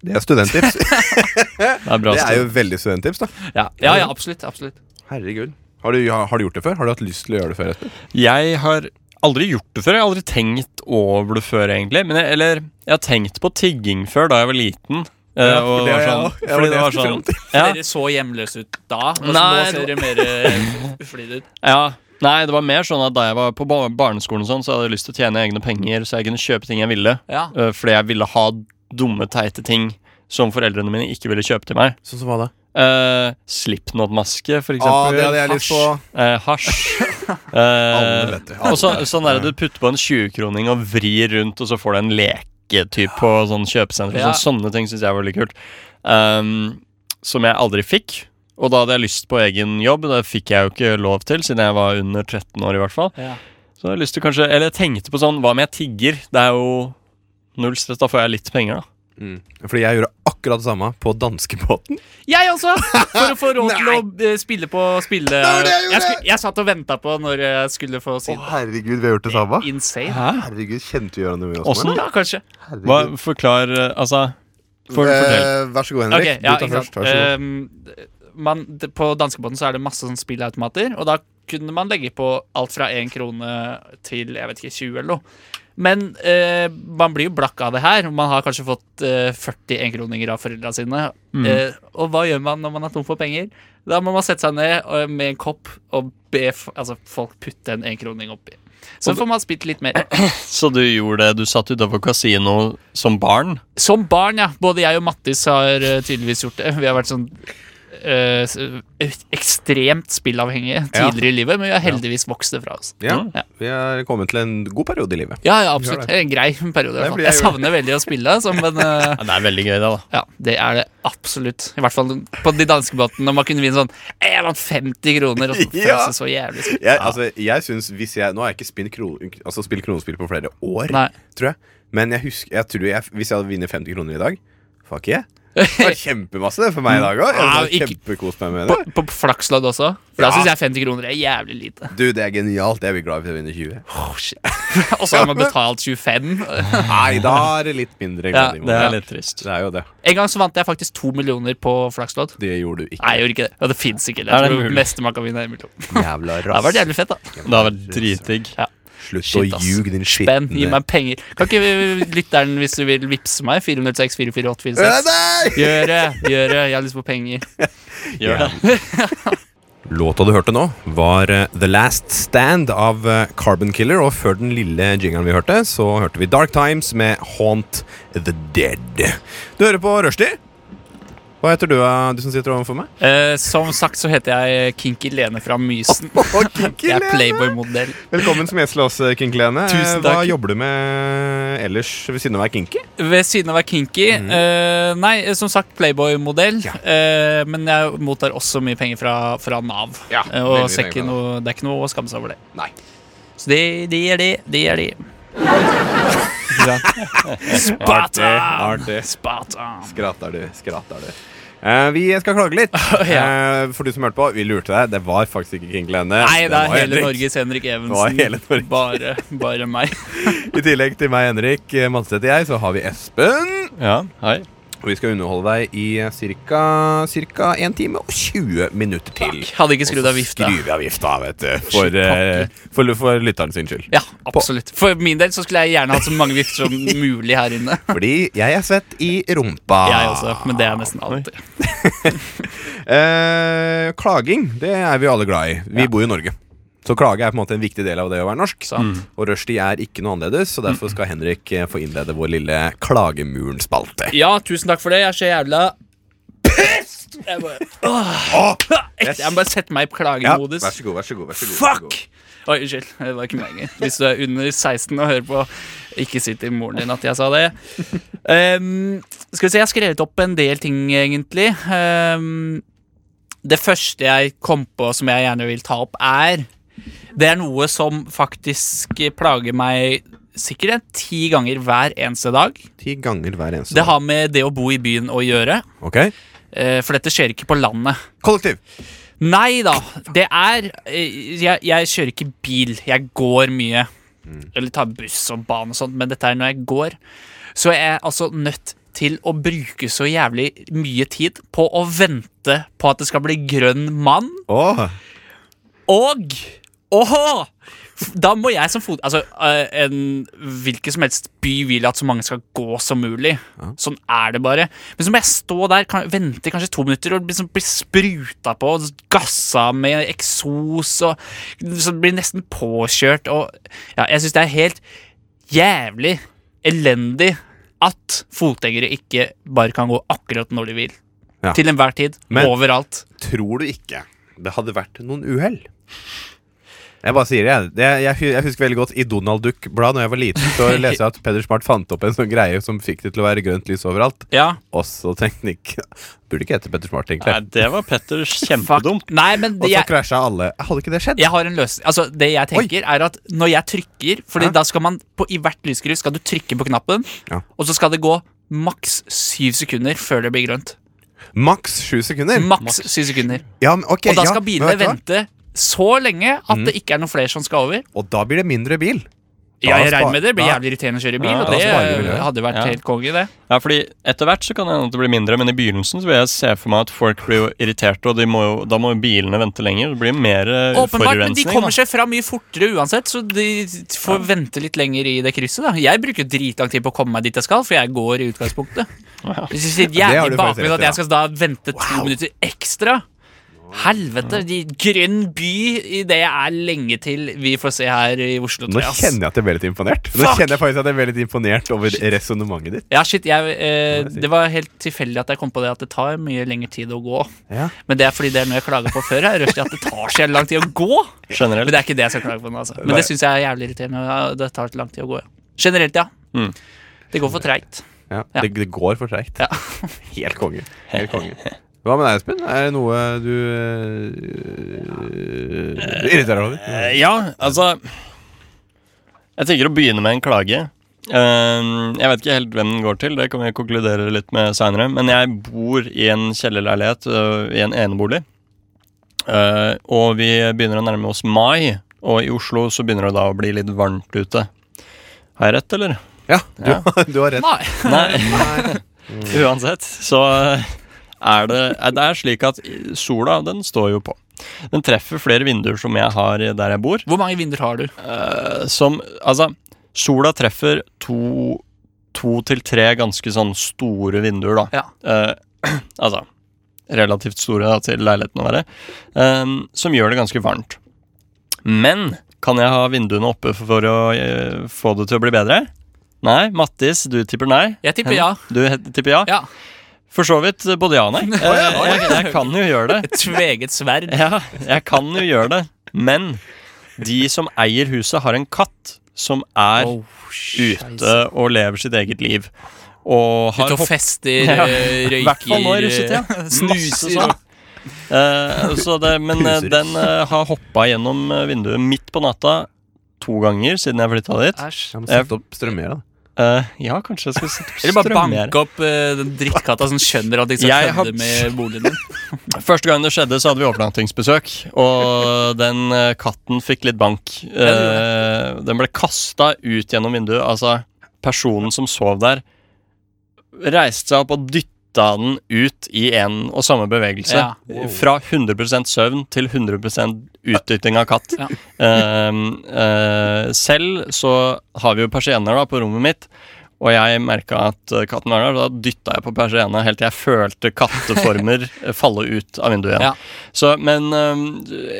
Speaker 2: Det er studenttips.
Speaker 4: det er bra.
Speaker 2: Det er jo
Speaker 4: Stig.
Speaker 2: veldig studenttips, da.
Speaker 3: Ja, ja, ja absolutt. absolutt.
Speaker 2: Herregud. Har du, har du gjort det før? Har du hatt lyst til å gjøre det før? Espen?
Speaker 4: Jeg har aldri gjort det før. Jeg har aldri tenkt over det før, egentlig. Men jeg, eller jeg har tenkt på tigging før, da jeg var liten. Eh,
Speaker 2: Ja, for
Speaker 4: og
Speaker 2: det
Speaker 4: var
Speaker 2: har jeg
Speaker 4: sånn,
Speaker 2: også. Ja, det var
Speaker 4: fordi det var
Speaker 2: det jeg skulle
Speaker 4: sånn ja,
Speaker 3: Dere så hjemløse ut da, og så nå
Speaker 4: Nei,
Speaker 3: ser dere mer eh, uflid ut.
Speaker 4: ja. Nei, det var mer sånn at da jeg var på bar- barneskolen, og sånn, så hadde jeg lyst til å tjene egne penger, så jeg kunne kjøpe ting jeg ville.
Speaker 3: Ja.
Speaker 4: Eh, fordi jeg ville ha dumme, teite ting som foreldrene mine ikke ville kjøpe til meg.
Speaker 2: Sånn som hva da?
Speaker 4: Uh, Slipknot-maske,
Speaker 2: Å,
Speaker 4: for eksempel.
Speaker 2: det hadde jeg lyst på.
Speaker 4: Eh, hasj. Eh,
Speaker 2: Alle vet det. Alle
Speaker 4: og så,
Speaker 2: vet det.
Speaker 4: sånn der du putter på en 20-kroning og vrir rundt, og så får du en leketyp på sånn kjøpesenter.
Speaker 3: Ja.
Speaker 4: Sånn, sånne ting syns jeg var veldig kult. Ehm, som jeg aldri fikk. Og da hadde jeg lyst på egen jobb. Det fikk jeg jo ikke lov til, siden jeg var under 13 år. i hvert fall
Speaker 3: Ja.
Speaker 4: Så jeg hadde lyst til kanskje, eller jeg tenkte på sånn, hva om jeg tigger? Det er jo null stress, da får jeg litt penger, da.
Speaker 2: Fordi jeg gjorde akkurat det samme på danskebåten.
Speaker 3: Jeg også! For å få råd til å eh, spille på spille
Speaker 2: var det jeg
Speaker 3: jeg,
Speaker 2: gjorde!
Speaker 3: sku- jeg satt og venta på når jeg skulle få si det.
Speaker 2: herregud, vi har gjort det samme.
Speaker 3: Insane.
Speaker 4: Hæ?
Speaker 2: Herregud, kjente vi gjøre noe med
Speaker 4: Åssen?
Speaker 3: Ja, kanskje.
Speaker 4: Hva, forklar, eh, altså for,
Speaker 3: Eh.
Speaker 4: Fortell.
Speaker 2: Eh, vær så god,
Speaker 3: Ok,
Speaker 2: Henrik.
Speaker 3: ja,
Speaker 2: du tar
Speaker 3: ikke
Speaker 2: først.
Speaker 3: sant. Eh,
Speaker 2: Vær så god.
Speaker 3: Ehm, man, d- på danskebåten så er det masse sånn spillautomater, og da kunne man legge på alt fra én krone til jeg vet ikke, 20 eller noe. Men eh, man blir jo blakk av det her. og Man har kanskje fått eh, 40 enkroninger av foreldra sine.
Speaker 2: Mm.
Speaker 3: Eh, og hva gjør man når man er tom for penger? Da må man sette seg ned eh, med en kopp og be f altså, folk putte en enkroning oppi. Så får man spilt litt mer.
Speaker 4: Så du gjorde det, du satt utafor kasino som barn?
Speaker 3: Som barn, ja. Både jeg og Mattis har eh, tydeligvis gjort det. Vi har vært sånn eh, s- ekstremt spillavhengige tidligere i livet, men vi har heldigvis vokst det fra oss.
Speaker 2: Ja,
Speaker 3: mm, Ja.
Speaker 2: vi er kommet til en god periode i livet.
Speaker 3: Ja, ja, absolutt.
Speaker 2: Gjør
Speaker 3: En grei periode. i
Speaker 2: Det
Speaker 3: hvert fall.
Speaker 2: blir jeg
Speaker 3: Jeg
Speaker 2: gjort.
Speaker 3: savner veldig å spille, altså, men eh,
Speaker 4: Ja, det er veldig gøy, det, da.
Speaker 3: ja, det er det absolutt. I hvert fall på de danske båtene, når man kunne vinne sånn «Eh, Jeg vant 50 kroner! Og så føles
Speaker 2: Ja.
Speaker 3: det så jævlig skummelt.
Speaker 2: Jeg, altså, jeg synes, hvis jeg, Nå har jeg ikke spilt, kro, altså, spilt kronespill på flere år,
Speaker 3: Nei.
Speaker 2: tror jeg. Men jeg husker, jeg tror jeg, hvis jeg hadde vunnet 50 kroner i dag Fuck yeah. Det var kjempemasse det for meg i dag òg.
Speaker 3: Ja, ikke-
Speaker 2: Kjempekost meg med
Speaker 3: På,
Speaker 2: det.
Speaker 3: på Flakslodd også. For da
Speaker 2: Ja.
Speaker 3: syns jeg 50 kroner er jævlig lite.
Speaker 2: Du, det er genialt. Jeg blir glad hvis jeg vinner 20.
Speaker 3: Oh, shit. og så har man betalt 25.
Speaker 2: Nei, da er det litt
Speaker 3: Ja,
Speaker 2: mindre. glad i
Speaker 4: Det
Speaker 2: morgen.
Speaker 4: er litt trist.
Speaker 2: det er jo det.
Speaker 3: En gang så vant jeg faktisk to millioner på Flakslodd.
Speaker 2: Det gjorde du ikke.
Speaker 3: Nei, jeg gjorde ikke det. Ja, det fins ikke.
Speaker 4: Er
Speaker 3: Jeg
Speaker 4: det
Speaker 3: tror
Speaker 4: mulig?
Speaker 3: meste man kan vinne er en million.
Speaker 2: Jævla
Speaker 3: Det hadde vært jævlig fett, da.
Speaker 4: Det har vært dritdigg.
Speaker 3: Ja.
Speaker 2: Slutt
Speaker 3: Shit,
Speaker 2: å
Speaker 3: ass.
Speaker 2: ljuge, din
Speaker 3: Ben, gi
Speaker 2: skitne
Speaker 3: meg penger. Kan ikke lytteren, hvis du vil, vippse meg? 406 448
Speaker 2: Øh,
Speaker 3: 46.
Speaker 2: Nei!
Speaker 3: Gjør det! Gjør det! Jeg har lyst på penger.
Speaker 4: Gjør det.
Speaker 2: Låta du hørte nå, var eh, The Last Stand av eh, Carbon Killer. Og før den lille jingeren vi hørte, så hørte vi Dark Times med Haunt The Dead. Du hører på Rushdie. Hva heter du, eh, du som sitter overfor meg?
Speaker 3: Eh, som sagt så heter jeg Kinky Lene fra Mysen. Jeg er Playboy-modell.
Speaker 2: Velkommen som gjest til oss, eh, Kinky Lene. Eh,
Speaker 3: Tusen
Speaker 2: Hva
Speaker 3: takk.
Speaker 2: jobber du med eh, ellers ved siden av å være kinky?
Speaker 3: Ved siden av å være kinky
Speaker 2: Mhm.
Speaker 3: eh, Nei, eh, som sagt Playboy-modell. Eh, men jeg mottar også mye penger fra, fra Nav.
Speaker 2: Ja,
Speaker 3: Eh, og
Speaker 2: veldig
Speaker 3: så er
Speaker 2: mye
Speaker 3: ikke
Speaker 2: penger fra
Speaker 3: noe, det er ikke noe å skamme seg over det.
Speaker 2: Nei.
Speaker 3: Så de, de er de. De er de. Spartan!
Speaker 2: Artig.
Speaker 3: Spartan.
Speaker 2: Skrater du, skrater du. Eh, vi skal klage litt.
Speaker 3: Ja.
Speaker 2: Eh, for du som hørte på, vi lurte deg. Det var faktisk ikke Kinky Lene.
Speaker 3: Nei, det
Speaker 2: var
Speaker 3: er hele
Speaker 2: Henrik.
Speaker 3: Norges Henrik
Speaker 2: var
Speaker 3: Evensen.
Speaker 2: hele Norge.
Speaker 3: Bare, bare meg.
Speaker 2: I tillegg til meg, Henrik, eh, Manstedt og jeg, så har vi Espen.
Speaker 4: Ja, hei.
Speaker 2: Og vi skal underholde deg i eh, ca. 1 time og 20 minutter til.
Speaker 3: Hadde ikke skrudd av vifta.
Speaker 2: Skru av vifta, vet du. For, eh, for, for lytteren sin skyld.
Speaker 3: Ja, absolutt. For min del så skulle jeg gjerne hatt så mange vifter som mulig her inne.
Speaker 2: Fordi jeg er svett i rumpa.
Speaker 3: Jeg også, men det er nesten alltid.
Speaker 2: Eh, klaging, det er vi alle glad i. Vi
Speaker 3: Ja.
Speaker 2: bor jo i Norge. Så klage er på en måte en viktig del av det å være norsk.
Speaker 3: Sant.
Speaker 2: Og rushtid er ikke noe annerledes, så derfor skal Henrik eh, få innlede vår lille Klagemuren-spalte.
Speaker 3: Ja, tusen takk for det. Jeg er så jævla pissed! Jeg bare,
Speaker 2: Åh,
Speaker 3: Ekte, jeg må bare sette meg i
Speaker 2: ja,
Speaker 3: klagemodus.
Speaker 2: vær så god, vær så god. Vær så god vær så god.
Speaker 3: Fuck! Oi, unnskyld. Det var ikke meningen. Hvis du er under 16 og hører på, ikke si til moren din at jeg sa det. Ehm, skal vi se, jeg har skrevet opp en del ting, egentlig. Ehm, det første jeg kom på som jeg gjerne vil ta opp, er Det er noe som faktisk plager meg sikkert en ti ganger hver eneste dag.
Speaker 2: Ti ganger hver eneste
Speaker 3: Det
Speaker 2: dag.
Speaker 3: har med det å bo i byen å gjøre,
Speaker 2: Ok?
Speaker 3: eh, for dette skjer ikke på landet.
Speaker 2: Kollektiv.
Speaker 3: Nei da. Det er eh, jeg, jeg kjører ikke bil. Jeg går mye. Eller tar buss og bane og sånt, men dette er når jeg går. Så jeg er altså nødt til å bruke så jævlig mye tid på å vente på at det skal bli grønn mann.
Speaker 2: Åh.
Speaker 3: Og Åhå! F- Da må jeg som fot... Altså, eh, en hvilken som helst by vil at så mange skal gå som mulig. Sånn er det bare. Men så må jeg stå der, kan, vente kanskje to minutter og liksom bli spruta på, og gassa med eksos og så Blir nesten påkjørt og Ja, jeg syns det er helt jævlig elendig at fotgjengere ikke bare kan gå akkurat når de vil.
Speaker 2: Ja.
Speaker 3: Til enhver tid.
Speaker 2: Men-
Speaker 3: overalt.
Speaker 2: Tror du ikke det hadde vært noen uhell? Jeg bare sier det. jeg. det jeg, hu- jeg husker veldig godt i Donald Duck-bladet da jeg var liten, så leste jeg at Peder Smart fant opp en sånn greie som fikk det til å være grønt lys overalt.
Speaker 3: Ja.
Speaker 2: Også teknikk. Burde ikke hete Peder Smart,
Speaker 4: Nei,
Speaker 2: egentlig.
Speaker 4: det var Petter
Speaker 3: Fuck.
Speaker 4: kjempedumt.
Speaker 3: Nei, men
Speaker 2: Og så
Speaker 3: jeg,
Speaker 2: krasja alle. Hadde ikke det skjedd?
Speaker 3: Jeg har en løsning. Altså, det jeg tenker er at når jeg trykker Fordi
Speaker 2: Ja.
Speaker 3: da skal man på, I hvert lyskryss skal du trykke på knappen,
Speaker 2: Ja.
Speaker 3: og så skal det gå maks syv sekunder før det blir grønt.
Speaker 2: Maks sju sekunder.
Speaker 3: Maks syv sekunder.
Speaker 2: Ja, men ok,
Speaker 3: Og da
Speaker 2: ja,
Speaker 3: skal
Speaker 2: men
Speaker 3: bilene
Speaker 2: vet du hva?
Speaker 3: vente så lenge at det ikke er noen flere som skal over.
Speaker 2: Og da blir det mindre bil.
Speaker 3: Ja, jeg
Speaker 2: spar-
Speaker 3: regner med det. Det blir
Speaker 2: da-
Speaker 3: jævlig irriterende å kjøre bil,
Speaker 4: Ja,
Speaker 3: og
Speaker 4: da
Speaker 3: det
Speaker 2: sparer vi miljøet.
Speaker 3: hadde jo vært
Speaker 4: Ja.
Speaker 3: helt konge, det.
Speaker 4: Ja, fordi Etter hvert så kan det hende at det blir mindre, men i begynnelsen så vil jeg se for meg at folk blir jo irriterte, og de må jo, da må jo bilene vente lenger. Det blir mer eh,
Speaker 3: Åpenbart, men de
Speaker 4: forurensning.
Speaker 3: kommer
Speaker 4: da.
Speaker 3: seg fram mye fortere uansett, så de får vente litt lenger i det krysset. da Jeg bruker dritlang tid på å komme meg dit jeg skal, for jeg går i utgangspunktet. Hvis jeg sitter
Speaker 2: Det har
Speaker 3: jævlig
Speaker 2: du
Speaker 3: bakvendt
Speaker 2: faktisk
Speaker 3: at
Speaker 2: rett i,
Speaker 3: jeg skal da vente to minutter ekstra Helvete, de grønn by i det jeg er lenge til vi får se her i Oslo.
Speaker 2: Nå
Speaker 3: tror jeg, ass.
Speaker 2: kjenner jeg at jeg ble litt imponert. Nå
Speaker 3: Fuck!
Speaker 2: kjenner jeg faktisk at jeg ble litt imponert over resonnementet ditt.
Speaker 3: Ja, shit, jeg, eh, Det var helt tilfeldig at jeg kom på det at det tar mye lengre tid å gå.
Speaker 2: Ja.
Speaker 3: Men det er fordi det er noe jeg klager på før. Jeg røster at det tar så jævlig lang tid å gå. Men
Speaker 4: Generelt.
Speaker 3: det er ikke det jeg skal klage på nå, altså. Men det syns jeg er jævlig irriterende. og Det tar lang tid å gå. ja. Generelt, ja.
Speaker 4: Mm.
Speaker 3: Det går for treigt.
Speaker 2: Ja,
Speaker 3: Ja.
Speaker 2: Det, det går for treigt.
Speaker 3: Ja.
Speaker 2: Helt konge. Helt konge. Hva med deg, Espen? Er det noe du øh, du irriterer deg over?
Speaker 4: Eh, Ja, altså Jeg tenker å begynne med en klage. Ehm, jeg vet ikke helt hvem den går til, det kan vi konkludere litt med seinere. Men jeg bor i en kjellerleilighet øh, i en enebolig. Eh, og vi begynner å nærme oss mai, og i Oslo så begynner det da å bli litt varmt ute. Har jeg rett, eller?
Speaker 2: Ja, du,
Speaker 4: Ja.
Speaker 2: du har rett.
Speaker 3: Nei.
Speaker 4: Nei. eh,
Speaker 2: Nei.
Speaker 4: Uansett, så er det, er det er slik at sola, den står jo på. Den treffer flere vinduer som jeg har i- der jeg bor.
Speaker 3: Hvor mange vinduer har du?
Speaker 4: eh, som Altså, sola treffer to, to til tre ganske sånn store vinduer, da.
Speaker 3: Ja.
Speaker 4: Eh, altså relativt store da, til leiligheten å være. eh, som gjør det ganske varmt. Men kan jeg ha vinduene oppe for, for å eh, få det til å bli bedre? Nei. Mattis, du tipper nei.
Speaker 3: Jeg tipper ja.
Speaker 4: Du he- tipper ja?
Speaker 3: Ja.
Speaker 4: For så vidt eh, både ja og nei. Eh, Jeg, jeg kan jo gjøre det.
Speaker 3: Et tveget sverd.
Speaker 4: Ja, jeg kan jo gjøre det. Men de som eier huset, har en katt som er
Speaker 3: Oh,
Speaker 4: ute og lever sitt eget liv. Og har
Speaker 3: Ute og
Speaker 4: hopp-
Speaker 3: fester,
Speaker 4: Ja.
Speaker 3: eh,
Speaker 4: I hvert fall nå i
Speaker 3: røyker,
Speaker 4: russetida.
Speaker 3: eh,
Speaker 4: Masse
Speaker 3: snuser.
Speaker 4: sånn. Eh, så det, men eh,
Speaker 2: Puser.
Speaker 4: den eh, har hoppa gjennom eh, vinduet midt på natta to ganger siden jeg flytta dit.
Speaker 3: Æsj.
Speaker 2: Jeg må sette opp strømmer, da.
Speaker 4: Eh, ja, kanskje jeg skal sette opp
Speaker 3: Eller bare
Speaker 4: strømgjerde.
Speaker 3: banke opp eh, den drittkatta som skjønner at de ikke
Speaker 4: Jeg har-
Speaker 3: skal kødde med boligen din.
Speaker 4: Første gang det skjedde, så hadde vi overnattingsbesøk. Og den eh, katten fikk litt bank. Eh, den ble kasta ut gjennom vinduet. Altså, personen som sov der, reiste seg opp og dytta den ut i en og samme bevegelse.
Speaker 3: Ja.
Speaker 4: Fra 100 søvn til 100 utdytting av katt.
Speaker 3: Ja.
Speaker 4: Eh, eh, selv så har vi jo persienner da på rommet mitt. Og jeg merka at eh, katten var der, og da dytta jeg på persienna helt til jeg følte katteformer falle ut av vinduet igjen.
Speaker 3: Ja.
Speaker 4: Så, men eh,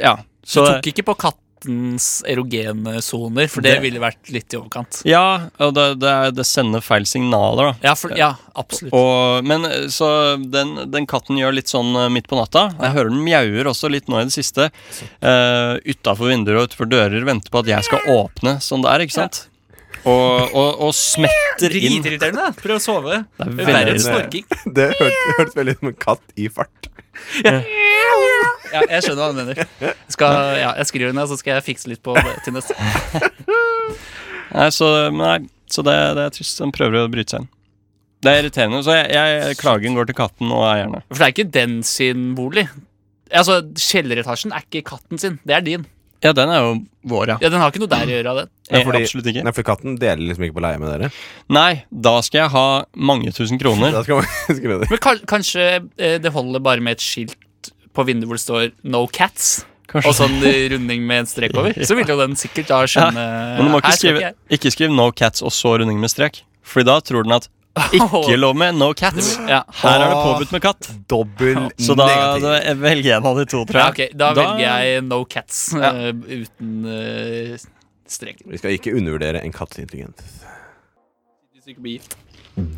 Speaker 4: ja.
Speaker 3: Så
Speaker 4: Så,
Speaker 3: du tok ikke på kattens erogene soner, for det,
Speaker 4: Det-
Speaker 3: ville vært litt i overkant.
Speaker 4: ja, og det, det, er- det sender feil signaler, da.
Speaker 3: Ja, for, ja absolutt.
Speaker 4: Og, men eh, så den, den katten gjør litt sånn eh, midt på natta. Jeg hører den mjauer også litt nå i det siste. Uh, Utafor vinduer og utenfor dører venter på at jeg skal åpne sånn der, ikke sant? Og, og, og smetter inn.
Speaker 3: Dritirriterende. Prøv å sove. Det er
Speaker 4: er veldig
Speaker 3: verre enn
Speaker 2: irriterende.
Speaker 3: snorking.
Speaker 2: Det hørtes hørtes veldig ut som en katt i fart.
Speaker 3: Ja, jeg skjønner hva du mener. Jeg, skal, ja, jeg skriver ned, så skal jeg fikse litt på det til neste.
Speaker 4: Nei, så, nei, så det, det er trist. Den prøver å bryte seg inn. Det er irriterende. Så jeg, jeg klagen går til katten og eierne.
Speaker 3: For det er ikke den sin bolig. Altså, Kjelleretasjen er ikke katten sin, det er din.
Speaker 4: Ja, den er jo vår, ja.
Speaker 3: Ja, Den har ikke noe der å gjøre. av den
Speaker 2: Nei,
Speaker 4: Eh,
Speaker 2: fordi-
Speaker 4: Absolutt ikke.
Speaker 2: Nei, for katten deler liksom ikke på leie med dere.
Speaker 4: Nei, da skal jeg ha mange tusen kroner.
Speaker 2: Da skal man skrive det.
Speaker 3: Men kan, kanskje eh, det holder bare med et skilt på vinduet hvor det står 'No Cats', og
Speaker 4: Kanskje.
Speaker 3: sånn runding med en strek over. Så vil jo den sikkert da skjønne
Speaker 4: Men du må
Speaker 3: her
Speaker 4: ikke
Speaker 3: skal
Speaker 4: skrive,
Speaker 3: jeg-
Speaker 4: ikke skrive 'no cats' og så runding med strek. Fordi da tror den at ikke lov med 'no cats'.
Speaker 3: Ja.
Speaker 4: Her er det påbudt med katt.
Speaker 2: Dobbel
Speaker 4: Så da
Speaker 2: negativ.
Speaker 4: da velger jeg en av de to, tror jeg.
Speaker 3: Ja, ok, da, velger jeg No Cats eh, uten eh, strek.
Speaker 2: Vi skal ikke undervurdere en katts intelligens.
Speaker 3: Hvis du ikke blir gift.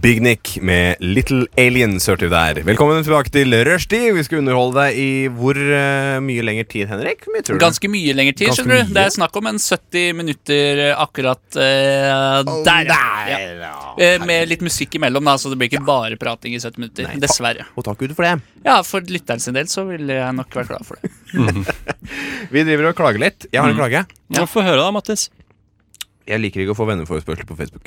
Speaker 2: Big Nick med Little Aliens hørte vi der. Velkommen tilbake til rushtid. Vi skal underholde deg i hvor eh, mye lenger tid, Henrik? Hvor mye tror du?
Speaker 3: Ganske mye lengre tid,
Speaker 2: Ganske
Speaker 3: skjønner du.
Speaker 2: mye.
Speaker 3: Det er snakk om en 70 minutter eh, akkurat eh, der. Ja. Eh, Med litt musikk imellom, da, så det blir ikke bare prating i 70 minutter.
Speaker 2: Nei.
Speaker 3: Dessverre.
Speaker 2: Og takk Gud for det.
Speaker 3: Ja, For lytteren sin del så ville jeg nok vært glad for det.
Speaker 2: Vi driver og klager litt. Jeg har en klage.
Speaker 4: Ja, Få høre, da, Mattis.
Speaker 2: Jeg liker ikke å få venneforespørsler på Facebook.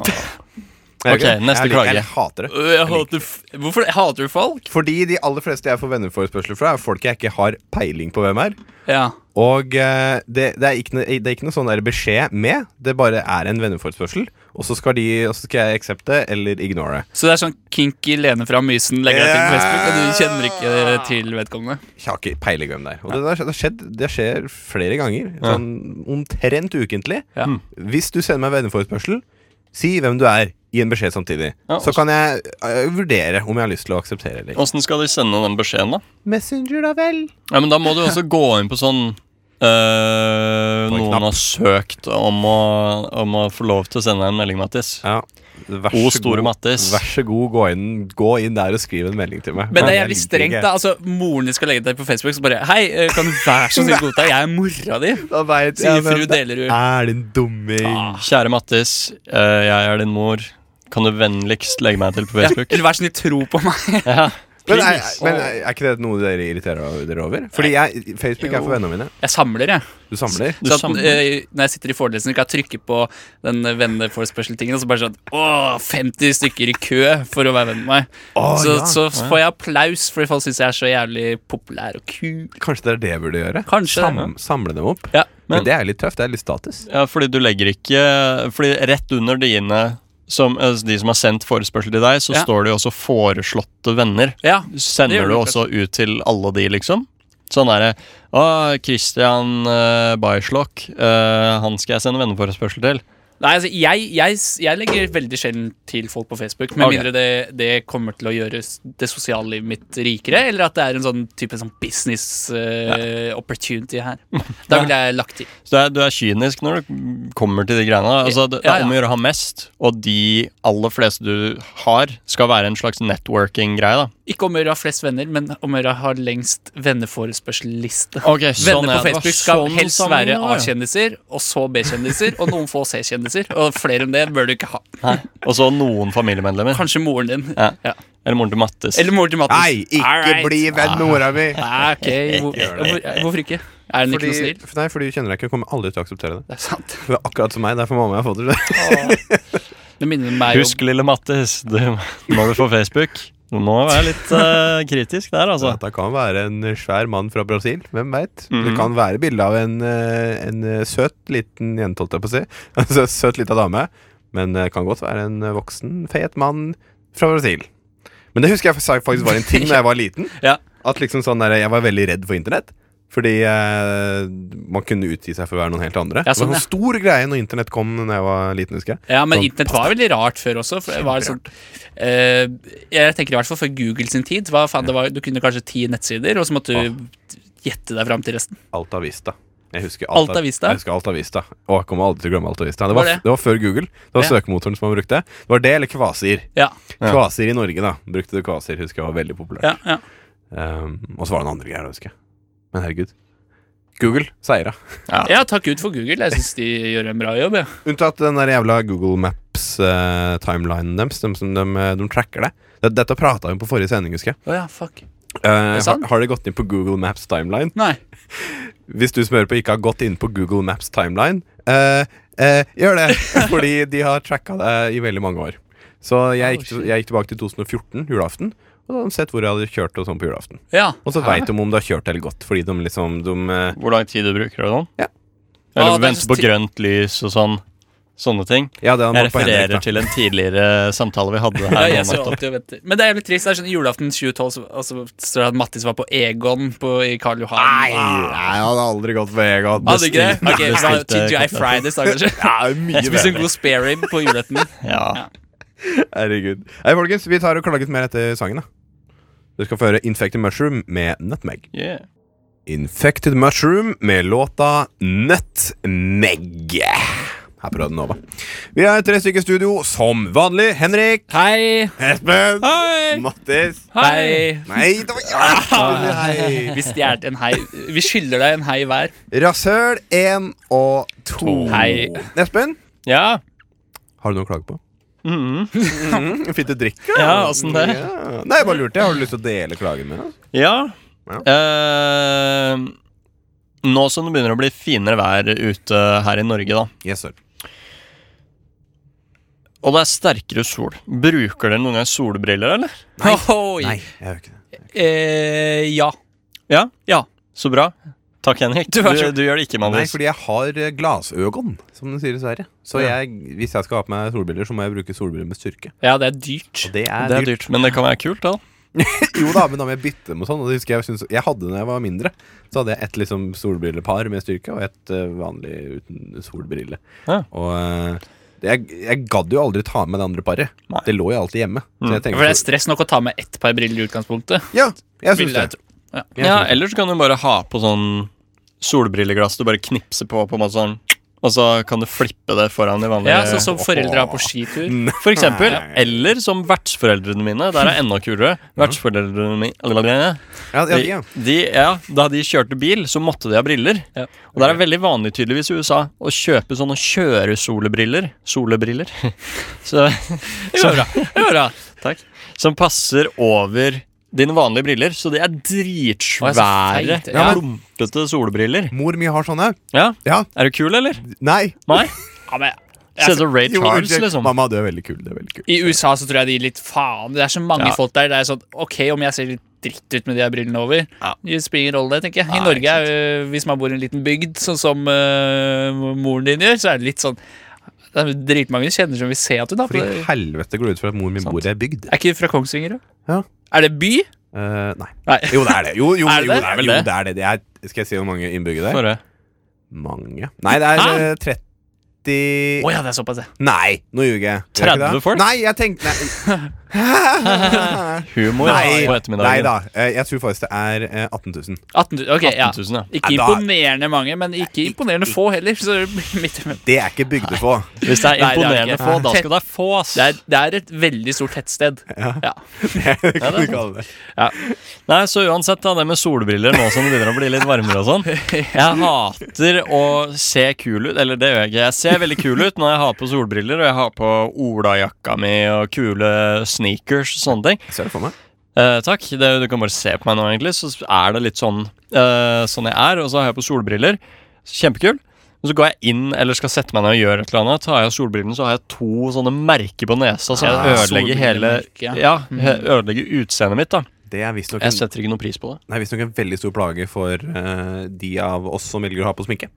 Speaker 4: Ok,
Speaker 2: Jeg liker-
Speaker 4: neste
Speaker 2: jeg, liker-
Speaker 4: klage.
Speaker 2: Jeg hater det.
Speaker 3: Jeg hater, f- hvorfor hater du folk?
Speaker 2: Fordi de aller fleste jeg får venneforespørsler fra, er folk jeg ikke har peiling på hvem er.
Speaker 3: Ja.
Speaker 2: Og eh, det, det, er ikke, noe- det er ikke noe sånn der beskjed med. Det bare er en venneforespørsel, og så skal, de, og så skal jeg aksepte eller ignore.
Speaker 3: Så det er sånn kinky lene fra mysen, legger deg til på Facebook, og du kjenner
Speaker 2: Ja.
Speaker 3: ikke eh, til vedkommende.
Speaker 2: Jeg har ikke peiling hvem det er. Og det, der- det, har skjedd, det skjer flere ganger. Sånn omtrent ukentlig.
Speaker 3: Ja.
Speaker 2: Hvis du sender meg venneforespørsel, si hvem du er, i en beskjed samtidig.
Speaker 4: Ja,
Speaker 2: så
Speaker 4: også-
Speaker 2: kan jeg eh, vurdere om jeg har lyst til å akseptere eller ikke.
Speaker 4: Åssen skal de sende den beskjeden, da?
Speaker 2: Messenger, da vel?
Speaker 4: Ja, men Da må du også gå inn på sånn øh,
Speaker 2: På en
Speaker 4: Noen
Speaker 2: knapp.
Speaker 4: har søkt om å, om å få lov til å sende deg en melding, Mattis.
Speaker 2: Ja. Vær
Speaker 4: O store Mattis.
Speaker 2: Vær så god, gå inn, gå inn der og skriv en melding til meg.
Speaker 3: Men det er
Speaker 2: Jeg
Speaker 3: jævlig
Speaker 2: liker
Speaker 3: strengt,
Speaker 2: ikke.
Speaker 3: da. Altså, Moren din skal legge deg på Facebook, så bare Hei, eh, kan du være så snill godta? Jeg er mora di.
Speaker 2: Da vet
Speaker 3: Sier
Speaker 2: jeg hvem
Speaker 3: fru
Speaker 2: det
Speaker 3: Delerud. Ah,
Speaker 2: Er din dumming?
Speaker 4: Kjære Mattis, øh, jeg er din mor. Kan du vennligst legge meg til på
Speaker 3: Ja,
Speaker 4: Facebook?
Speaker 3: eller vær så snill, tro på meg.
Speaker 4: Ja.
Speaker 2: Men, er,
Speaker 4: Please.
Speaker 2: men er er ikke det noe dere irriterer dere over? Fordi jeg, Facebook er for vennene mine.
Speaker 3: Jeg samler, jeg.
Speaker 2: Du samler.
Speaker 4: Du
Speaker 3: Så at,
Speaker 4: samler.
Speaker 3: eh, når jeg sitter i forelesning, kan jeg trykke på den venneforespørseltingen, og så bare sånn Åh, 50 stykker i kø for å være venn med meg.
Speaker 2: Å,
Speaker 3: så,
Speaker 2: ja.
Speaker 3: så får jeg applaus, fordi folk syns jeg er så jævlig populær og kul.
Speaker 2: Kanskje det er det jeg burde gjøre?
Speaker 3: Kanskje.
Speaker 2: Sam, samle dem opp.
Speaker 3: Ja.
Speaker 2: Men,
Speaker 4: Men-
Speaker 2: det er litt tøft. Det er litt status.
Speaker 4: Ja, fordi du legger ikke Fordi rett under dine som, øh, De som har sendt forespørsel til deg, så
Speaker 3: Ja.
Speaker 4: står det jo også 'foreslåtte venner'.
Speaker 3: ja. Det
Speaker 4: Sender
Speaker 3: gjør
Speaker 4: du
Speaker 3: det
Speaker 4: også ut til alle de, liksom? Sånn er det. Å, Christian uh, Bajslok, eh, han skal jeg sende venneforespørsel til.
Speaker 3: Nei, altså, jeg, jeg, jeg legger veldig sjelden til folk på Facebook. Med
Speaker 4: Ok.
Speaker 3: mindre det, det kommer til å gjøre s- det sosiale livet mitt rikere, eller at det er en sånn type sånn business eh, opportunity her. Da ville jeg lagt til.
Speaker 4: Så du er, du er kynisk når du kommer til de greiene. Altså, det, det
Speaker 3: Ja,
Speaker 4: er
Speaker 3: ja.
Speaker 4: om å gjøre å ha mest, og de aller fleste du har, skal være en slags networking-greie. da
Speaker 3: Ikke om å gjøre å ha flest venner, men om å gjøre å ha lengst venneforespørselliste. Venner
Speaker 4: Ok, ja,
Speaker 3: på
Speaker 4: Sånn det var
Speaker 3: Facebook skal
Speaker 4: sånn
Speaker 3: helst
Speaker 4: sammenheng
Speaker 3: være
Speaker 4: det var, ja.
Speaker 3: A-kjendiser, og så B-kjendiser, og noen få C-kjendiser. Og flere enn det bør du ikke ha.
Speaker 4: Nei. Og så noen familiemedlemmer.
Speaker 3: Kanskje moren din.
Speaker 4: Ja.
Speaker 3: Ja.
Speaker 4: Eller moren til Mattis.
Speaker 3: Eller moren til Mattis.
Speaker 2: Nei, ikke
Speaker 3: All right. Ah.
Speaker 2: bli venn med mora mi!
Speaker 3: Nei, ok, hvor, hvor, Hvorfor ikke? Er den ikke
Speaker 2: Fordi,
Speaker 3: noe snill?
Speaker 2: nei, fordi du kjenner deg ikke og kommer aldri til å akseptere det.
Speaker 3: Det er sant.
Speaker 2: Hun er akkurat som meg. Derfor mamma har fått det.
Speaker 3: Det minner meg
Speaker 4: Husk, lille Mattis, du, når du får Facebook Du må være litt eh, kritisk der, altså.
Speaker 2: Dette kan være en eh, svær mann fra Brasil. Hvem veit? Det
Speaker 3: Mhm.
Speaker 2: kan være bilde av en, eh, en eh, søt liten jente, holdt jeg på å si. Altså, søt lita dame. Men det kan godt være en eh, voksen, fet mann fra Brasil. Men det husker jeg fa- faktisk var en ting da jeg var liten.
Speaker 3: Ja.
Speaker 2: At liksom sånn der, Jeg var veldig redd for internett. Fordi eh, man kunne utgi seg for å være noen helt andre.
Speaker 3: Ja,
Speaker 2: det
Speaker 3: sånn,
Speaker 2: var
Speaker 3: ja.
Speaker 2: en stor greie når internett kom da jeg var liten, husker jeg.
Speaker 3: om Ja, men
Speaker 2: sånn-
Speaker 3: internett var veldig rart før også. For det var sånn, eh, jeg tenker i hvert fall før Google sin tid. Hva faen, det var, du kunne kanskje ti nettsider, og så måtte du gjette deg fram til resten.
Speaker 2: Alta Vista. Jeg husker
Speaker 3: Alta Vista?
Speaker 2: Jeg husker Alta Vista. Å, jeg kommer aldri til å glemme Alta Vista. Det
Speaker 3: Var
Speaker 2: var,
Speaker 3: det?
Speaker 2: det? var før Google. Det var
Speaker 3: Ja.
Speaker 2: søkemotoren som man brukte. Det var det eller Kvasir.
Speaker 3: Ja,
Speaker 4: Ja.
Speaker 2: Kvasir i Norge, da. Brukte du Kvasir, husker jeg var veldig populært.
Speaker 3: ja, ja.
Speaker 2: Um, og så var det noen andre greier, da, husker jeg. Men herregud. Google seira.
Speaker 3: ja takk ut for Google. Jeg syns de gjør en bra jobb. Ja.
Speaker 2: Unntatt den der jævla Google eh, Maps-timelinen deres. De, som- de, de tracker det. Det- Dette prata vi om på forrige sending, husker jeg.
Speaker 3: Å ja, fuck.
Speaker 2: Eh, har,
Speaker 3: sant?
Speaker 2: har dere gått inn på Google Maps timeline?
Speaker 3: Nei.
Speaker 2: hvis du som hører på ikke har gått inn på Google Maps timeline, eh, eh, gjør det. Fordi de har tracka deg i veldig mange år. Så jeg gikk, jeg gikk tilbake til 2014, julaften, og da hadde de sett hvor jeg hadde kjørt og sånn på julaften.
Speaker 3: Ja.
Speaker 2: Og så veit de om du har kjørt eller gått, fordi de liksom de, eh,
Speaker 4: Hvor lang tid du bruker og sånn?
Speaker 2: Ja.
Speaker 4: Eller
Speaker 3: Ah, det er
Speaker 4: venter
Speaker 3: så
Speaker 4: på
Speaker 3: ti-
Speaker 4: grønt lys og sånn. Sånne ting.
Speaker 2: Ja, det hadde
Speaker 4: Jeg
Speaker 2: de på Henrik,
Speaker 4: refererer
Speaker 2: da.
Speaker 4: til en tidligere samtale vi hadde
Speaker 3: Ja,
Speaker 4: her.
Speaker 3: jeg
Speaker 4: nå
Speaker 3: så
Speaker 4: nettopp.
Speaker 3: alltid og venter. Men det er jævlig trist. Det er sånn Julaften 2012 så, altså, står det at Mattis var på Egon på, i Karl Johan.
Speaker 2: Nei, jeg hadde aldri gått på Egon.
Speaker 3: Hadde ikke det? Ok,
Speaker 4: Bestilte-
Speaker 3: så TGI
Speaker 4: bestilte-
Speaker 3: Fridays da, kanskje?
Speaker 2: Ja, mye
Speaker 3: Spiste en
Speaker 2: bedre.
Speaker 3: god spare rib på julaften.
Speaker 4: Ja.
Speaker 2: Herregud. Nei, folkens, vi tar og klager litt mer etter sangen, da. Du skal få høre Infected Mushroom med Nutmeg.
Speaker 4: Yeah.
Speaker 2: Infected Mushroom med låta Nutmeg. Her på Radio Nova. Vi er tre stykker i studio som vanlig. Henrik.
Speaker 3: Hei!
Speaker 2: Espen.
Speaker 3: Hei!
Speaker 2: Mattis.
Speaker 3: Hei!
Speaker 2: Nei, det var ja. Hei.
Speaker 3: Vi stjal en hei. Vi skylder deg en hei hver.
Speaker 2: Rasøl én og to.
Speaker 3: Hei.
Speaker 2: Espen,
Speaker 4: ja.
Speaker 2: har du noe å klage på?
Speaker 4: Mhm.
Speaker 2: Mm, Fint å drikke.
Speaker 4: ja, åssen det?
Speaker 2: Ja. Nei, jeg bare lurte. Har du lyst til å dele klagen med oss?
Speaker 4: Ja.
Speaker 2: Ja.
Speaker 4: Eh, nå som det begynner å bli finere vær ute her i Norge, da,
Speaker 2: Yes, sir.
Speaker 4: og det er sterkere sol, bruker dere noen gang solbriller, eller?
Speaker 3: Ohoi.
Speaker 2: Nei, jeg gjør ikke det.
Speaker 3: Eh, ja.
Speaker 4: Ja?
Speaker 3: Ja.
Speaker 4: Så bra. Takk, Henrik.
Speaker 3: Du
Speaker 4: Du,
Speaker 3: er
Speaker 4: du,
Speaker 3: så-
Speaker 4: gjør det ikke,
Speaker 2: Nei,
Speaker 4: Mandus.
Speaker 2: fordi jeg har eh, glasøgon, som de sier i Sverige. Så jeg, hvis jeg skal ha på meg solbriller, så må jeg bruke solbriller med styrke.
Speaker 3: Ja, det er dyrt.
Speaker 2: Og det er,
Speaker 4: Det er
Speaker 2: dyrt.
Speaker 4: dyrt, men det kan være kult, da.
Speaker 2: Jo da, men da må jeg bytte med sånn. Og det husker jeg, synes, jeg hadde da jeg var mindre. Så hadde jeg ett liksom, solbrillepar med styrke, og ett eh, vanlig uten solbrille.
Speaker 4: Ja.
Speaker 2: Og eh, det, jeg, jeg gadd jo aldri ta med det andre paret.
Speaker 4: Nei. Mm.
Speaker 2: Det lå jo alltid hjemme. Så jeg
Speaker 3: For det
Speaker 2: tenkte
Speaker 3: er stress nok å ta med ett par briller i utgangspunktet.
Speaker 2: Ja, jeg
Speaker 3: Vil
Speaker 2: syns det.
Speaker 3: jeg tro.
Speaker 2: Jeg
Speaker 4: Ja,
Speaker 2: synes det.
Speaker 4: Eller så kan du bare ha på sånn solbrilleglass du bare knipser på, på en måte sånn, og så kan du flippe det foran de vanlige
Speaker 3: Ja, Sånn som foreldre har på skitur.
Speaker 4: For eksempel. Eller som vertsforeldrene mine. Der er enda kulere. Vertsforeldrene mine
Speaker 2: Ja, ja,
Speaker 4: de,
Speaker 2: ja.
Speaker 4: de, ja, Da de kjørte bil, så måtte de ha briller.
Speaker 3: Ja.
Speaker 4: Og der er veldig vanlig tydeligvis i USA å kjøpe sånne kjøresolebriller. Solebriller. så, så,
Speaker 3: Ja, bra.
Speaker 4: takk. Som passer over dine vanlige briller. Så de er
Speaker 3: Å,
Speaker 4: dritsvære,
Speaker 3: jeg er så feit, ja.
Speaker 4: klumpete solbriller.
Speaker 2: Mor mi har sånne.
Speaker 4: Ja,
Speaker 2: Ja.
Speaker 4: Er du kul, eller?
Speaker 2: Nei.
Speaker 4: Nei?
Speaker 3: Ja, men,
Speaker 4: Ser ut som Ray
Speaker 2: Jo,
Speaker 4: Charles,
Speaker 2: unnskyld.
Speaker 4: liksom.
Speaker 2: Mamma, du er veldig kul. Du er veldig kul.
Speaker 3: I USA så tror jeg de gir litt faen. Det er så mange
Speaker 4: Ja.
Speaker 3: folk der. Det er sånn, ok, Om jeg ser litt dritt ut med de her brillene over,
Speaker 4: Ja.
Speaker 3: det spiller ingen rolle, det, tenker jeg. I
Speaker 4: Nei,
Speaker 3: Norge, er, jo- hvis man bor i en liten bygd, sånn som øh, moren din gjør, så er det litt sånn Det er dritmange du kjenner som vil se at du har på
Speaker 2: For i
Speaker 3: deg
Speaker 2: helvete går det ut fra at mor min bor i ei bygd.
Speaker 3: Er ikke du fra Kongsvinger, da?
Speaker 2: Ja.
Speaker 3: Er det by?
Speaker 2: Eh, nei.
Speaker 4: Nei.
Speaker 2: Jo, det er det. Jo, jo,
Speaker 3: Er det
Speaker 2: jo,
Speaker 3: det?
Speaker 2: det, er,
Speaker 4: vel
Speaker 2: jo,
Speaker 4: det?
Speaker 2: det, er det. det er, skal jeg si hvor mange innbyggere det er?
Speaker 4: Bare.
Speaker 2: Mange. Nei, det er
Speaker 3: Hæ?
Speaker 2: eh, 30
Speaker 3: Å ja, det er såpass, det.
Speaker 2: Nei, nå ljuger jeg. Gjør jeg ikke
Speaker 4: 30
Speaker 2: det?
Speaker 4: folk?
Speaker 2: Nei, jeg tenkte Nei.
Speaker 4: Humor
Speaker 2: Nei,
Speaker 4: på
Speaker 2: nei
Speaker 4: ettermiddagen.
Speaker 2: da. Eh, Jeg tror faktisk det er eh, 18 000.
Speaker 3: 18 000. Ok, ja.
Speaker 4: 18 000, ja.
Speaker 3: Ikke
Speaker 2: Nei, da-
Speaker 3: imponerende mange, men ikke imponerende få heller. Så det blir midt imellom.
Speaker 2: Det er ikke bygdefå.
Speaker 4: Hvis det er
Speaker 3: Nei, det er
Speaker 4: imponerende
Speaker 3: ikke.
Speaker 4: få, da skal det er få, ass.
Speaker 3: det, er, det er et veldig stort tettsted. Ja.
Speaker 2: Det kan du kalle det.
Speaker 4: Nei, så uansett, da, det med solbriller nå som det begynner å bli litt varmere og sånn Jeg hater å se kul ut, eller det gjør jeg ikke. Jeg ser veldig kul ut når jeg har på solbriller, og jeg har på olajakka mi og kule sneakers og sånne ting.
Speaker 2: Jeg ser det for meg.
Speaker 4: Eh, takk. Det, du kan bare se på meg nå, egentlig. Så er det litt sånn eh, Sånn jeg er. Og så har jeg på solbriller. Kjempekul. Og så går jeg inn eller skal sette meg ned og gjøre et eller annet. Tar jeg av solbrillene, så har jeg to sånne merker på nesa som
Speaker 3: Ja,
Speaker 4: ødelegger hele
Speaker 3: solbrillemerke, ja. Mm.
Speaker 4: Ja, he- ødelegger utseendet mitt, da.
Speaker 2: Det er visstnok
Speaker 4: Jeg
Speaker 2: en,
Speaker 4: setter ikke noe pris på det.
Speaker 2: det er visstnok en veldig stor plage for eh, de av oss som velger å ha på sminke.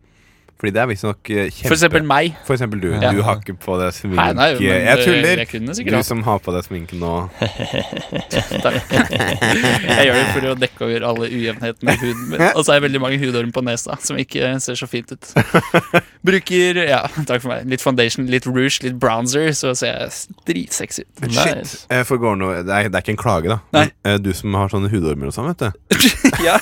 Speaker 2: Fordi det er visstnok eh, kjempe...
Speaker 3: For eksempel meg.
Speaker 2: For eksempel du.
Speaker 4: Ja.
Speaker 2: Du har ikke på deg sminke.
Speaker 3: Nei, nei, men,
Speaker 2: jeg
Speaker 3: eh,
Speaker 2: tuller.
Speaker 3: jeg kunne sikkert
Speaker 2: du
Speaker 3: hatt.
Speaker 2: som har på deg sminke nå.
Speaker 3: Takk. Jeg gjør det for å dekke over alle ujevnhetene i huden min. Og så er det veldig mange hudorm på nesa som ikke ser så fint ut. Bruker ja, takk for meg, litt foundation, litt rouge, litt bronzer, så ser jeg dritsexy ut.
Speaker 4: Shit.
Speaker 2: Eh, For går nå, det, er, det er ikke en klage, da.
Speaker 3: Nei.
Speaker 2: Men, eh, du som har sånne hudormer og sånn, vet du.
Speaker 3: ja,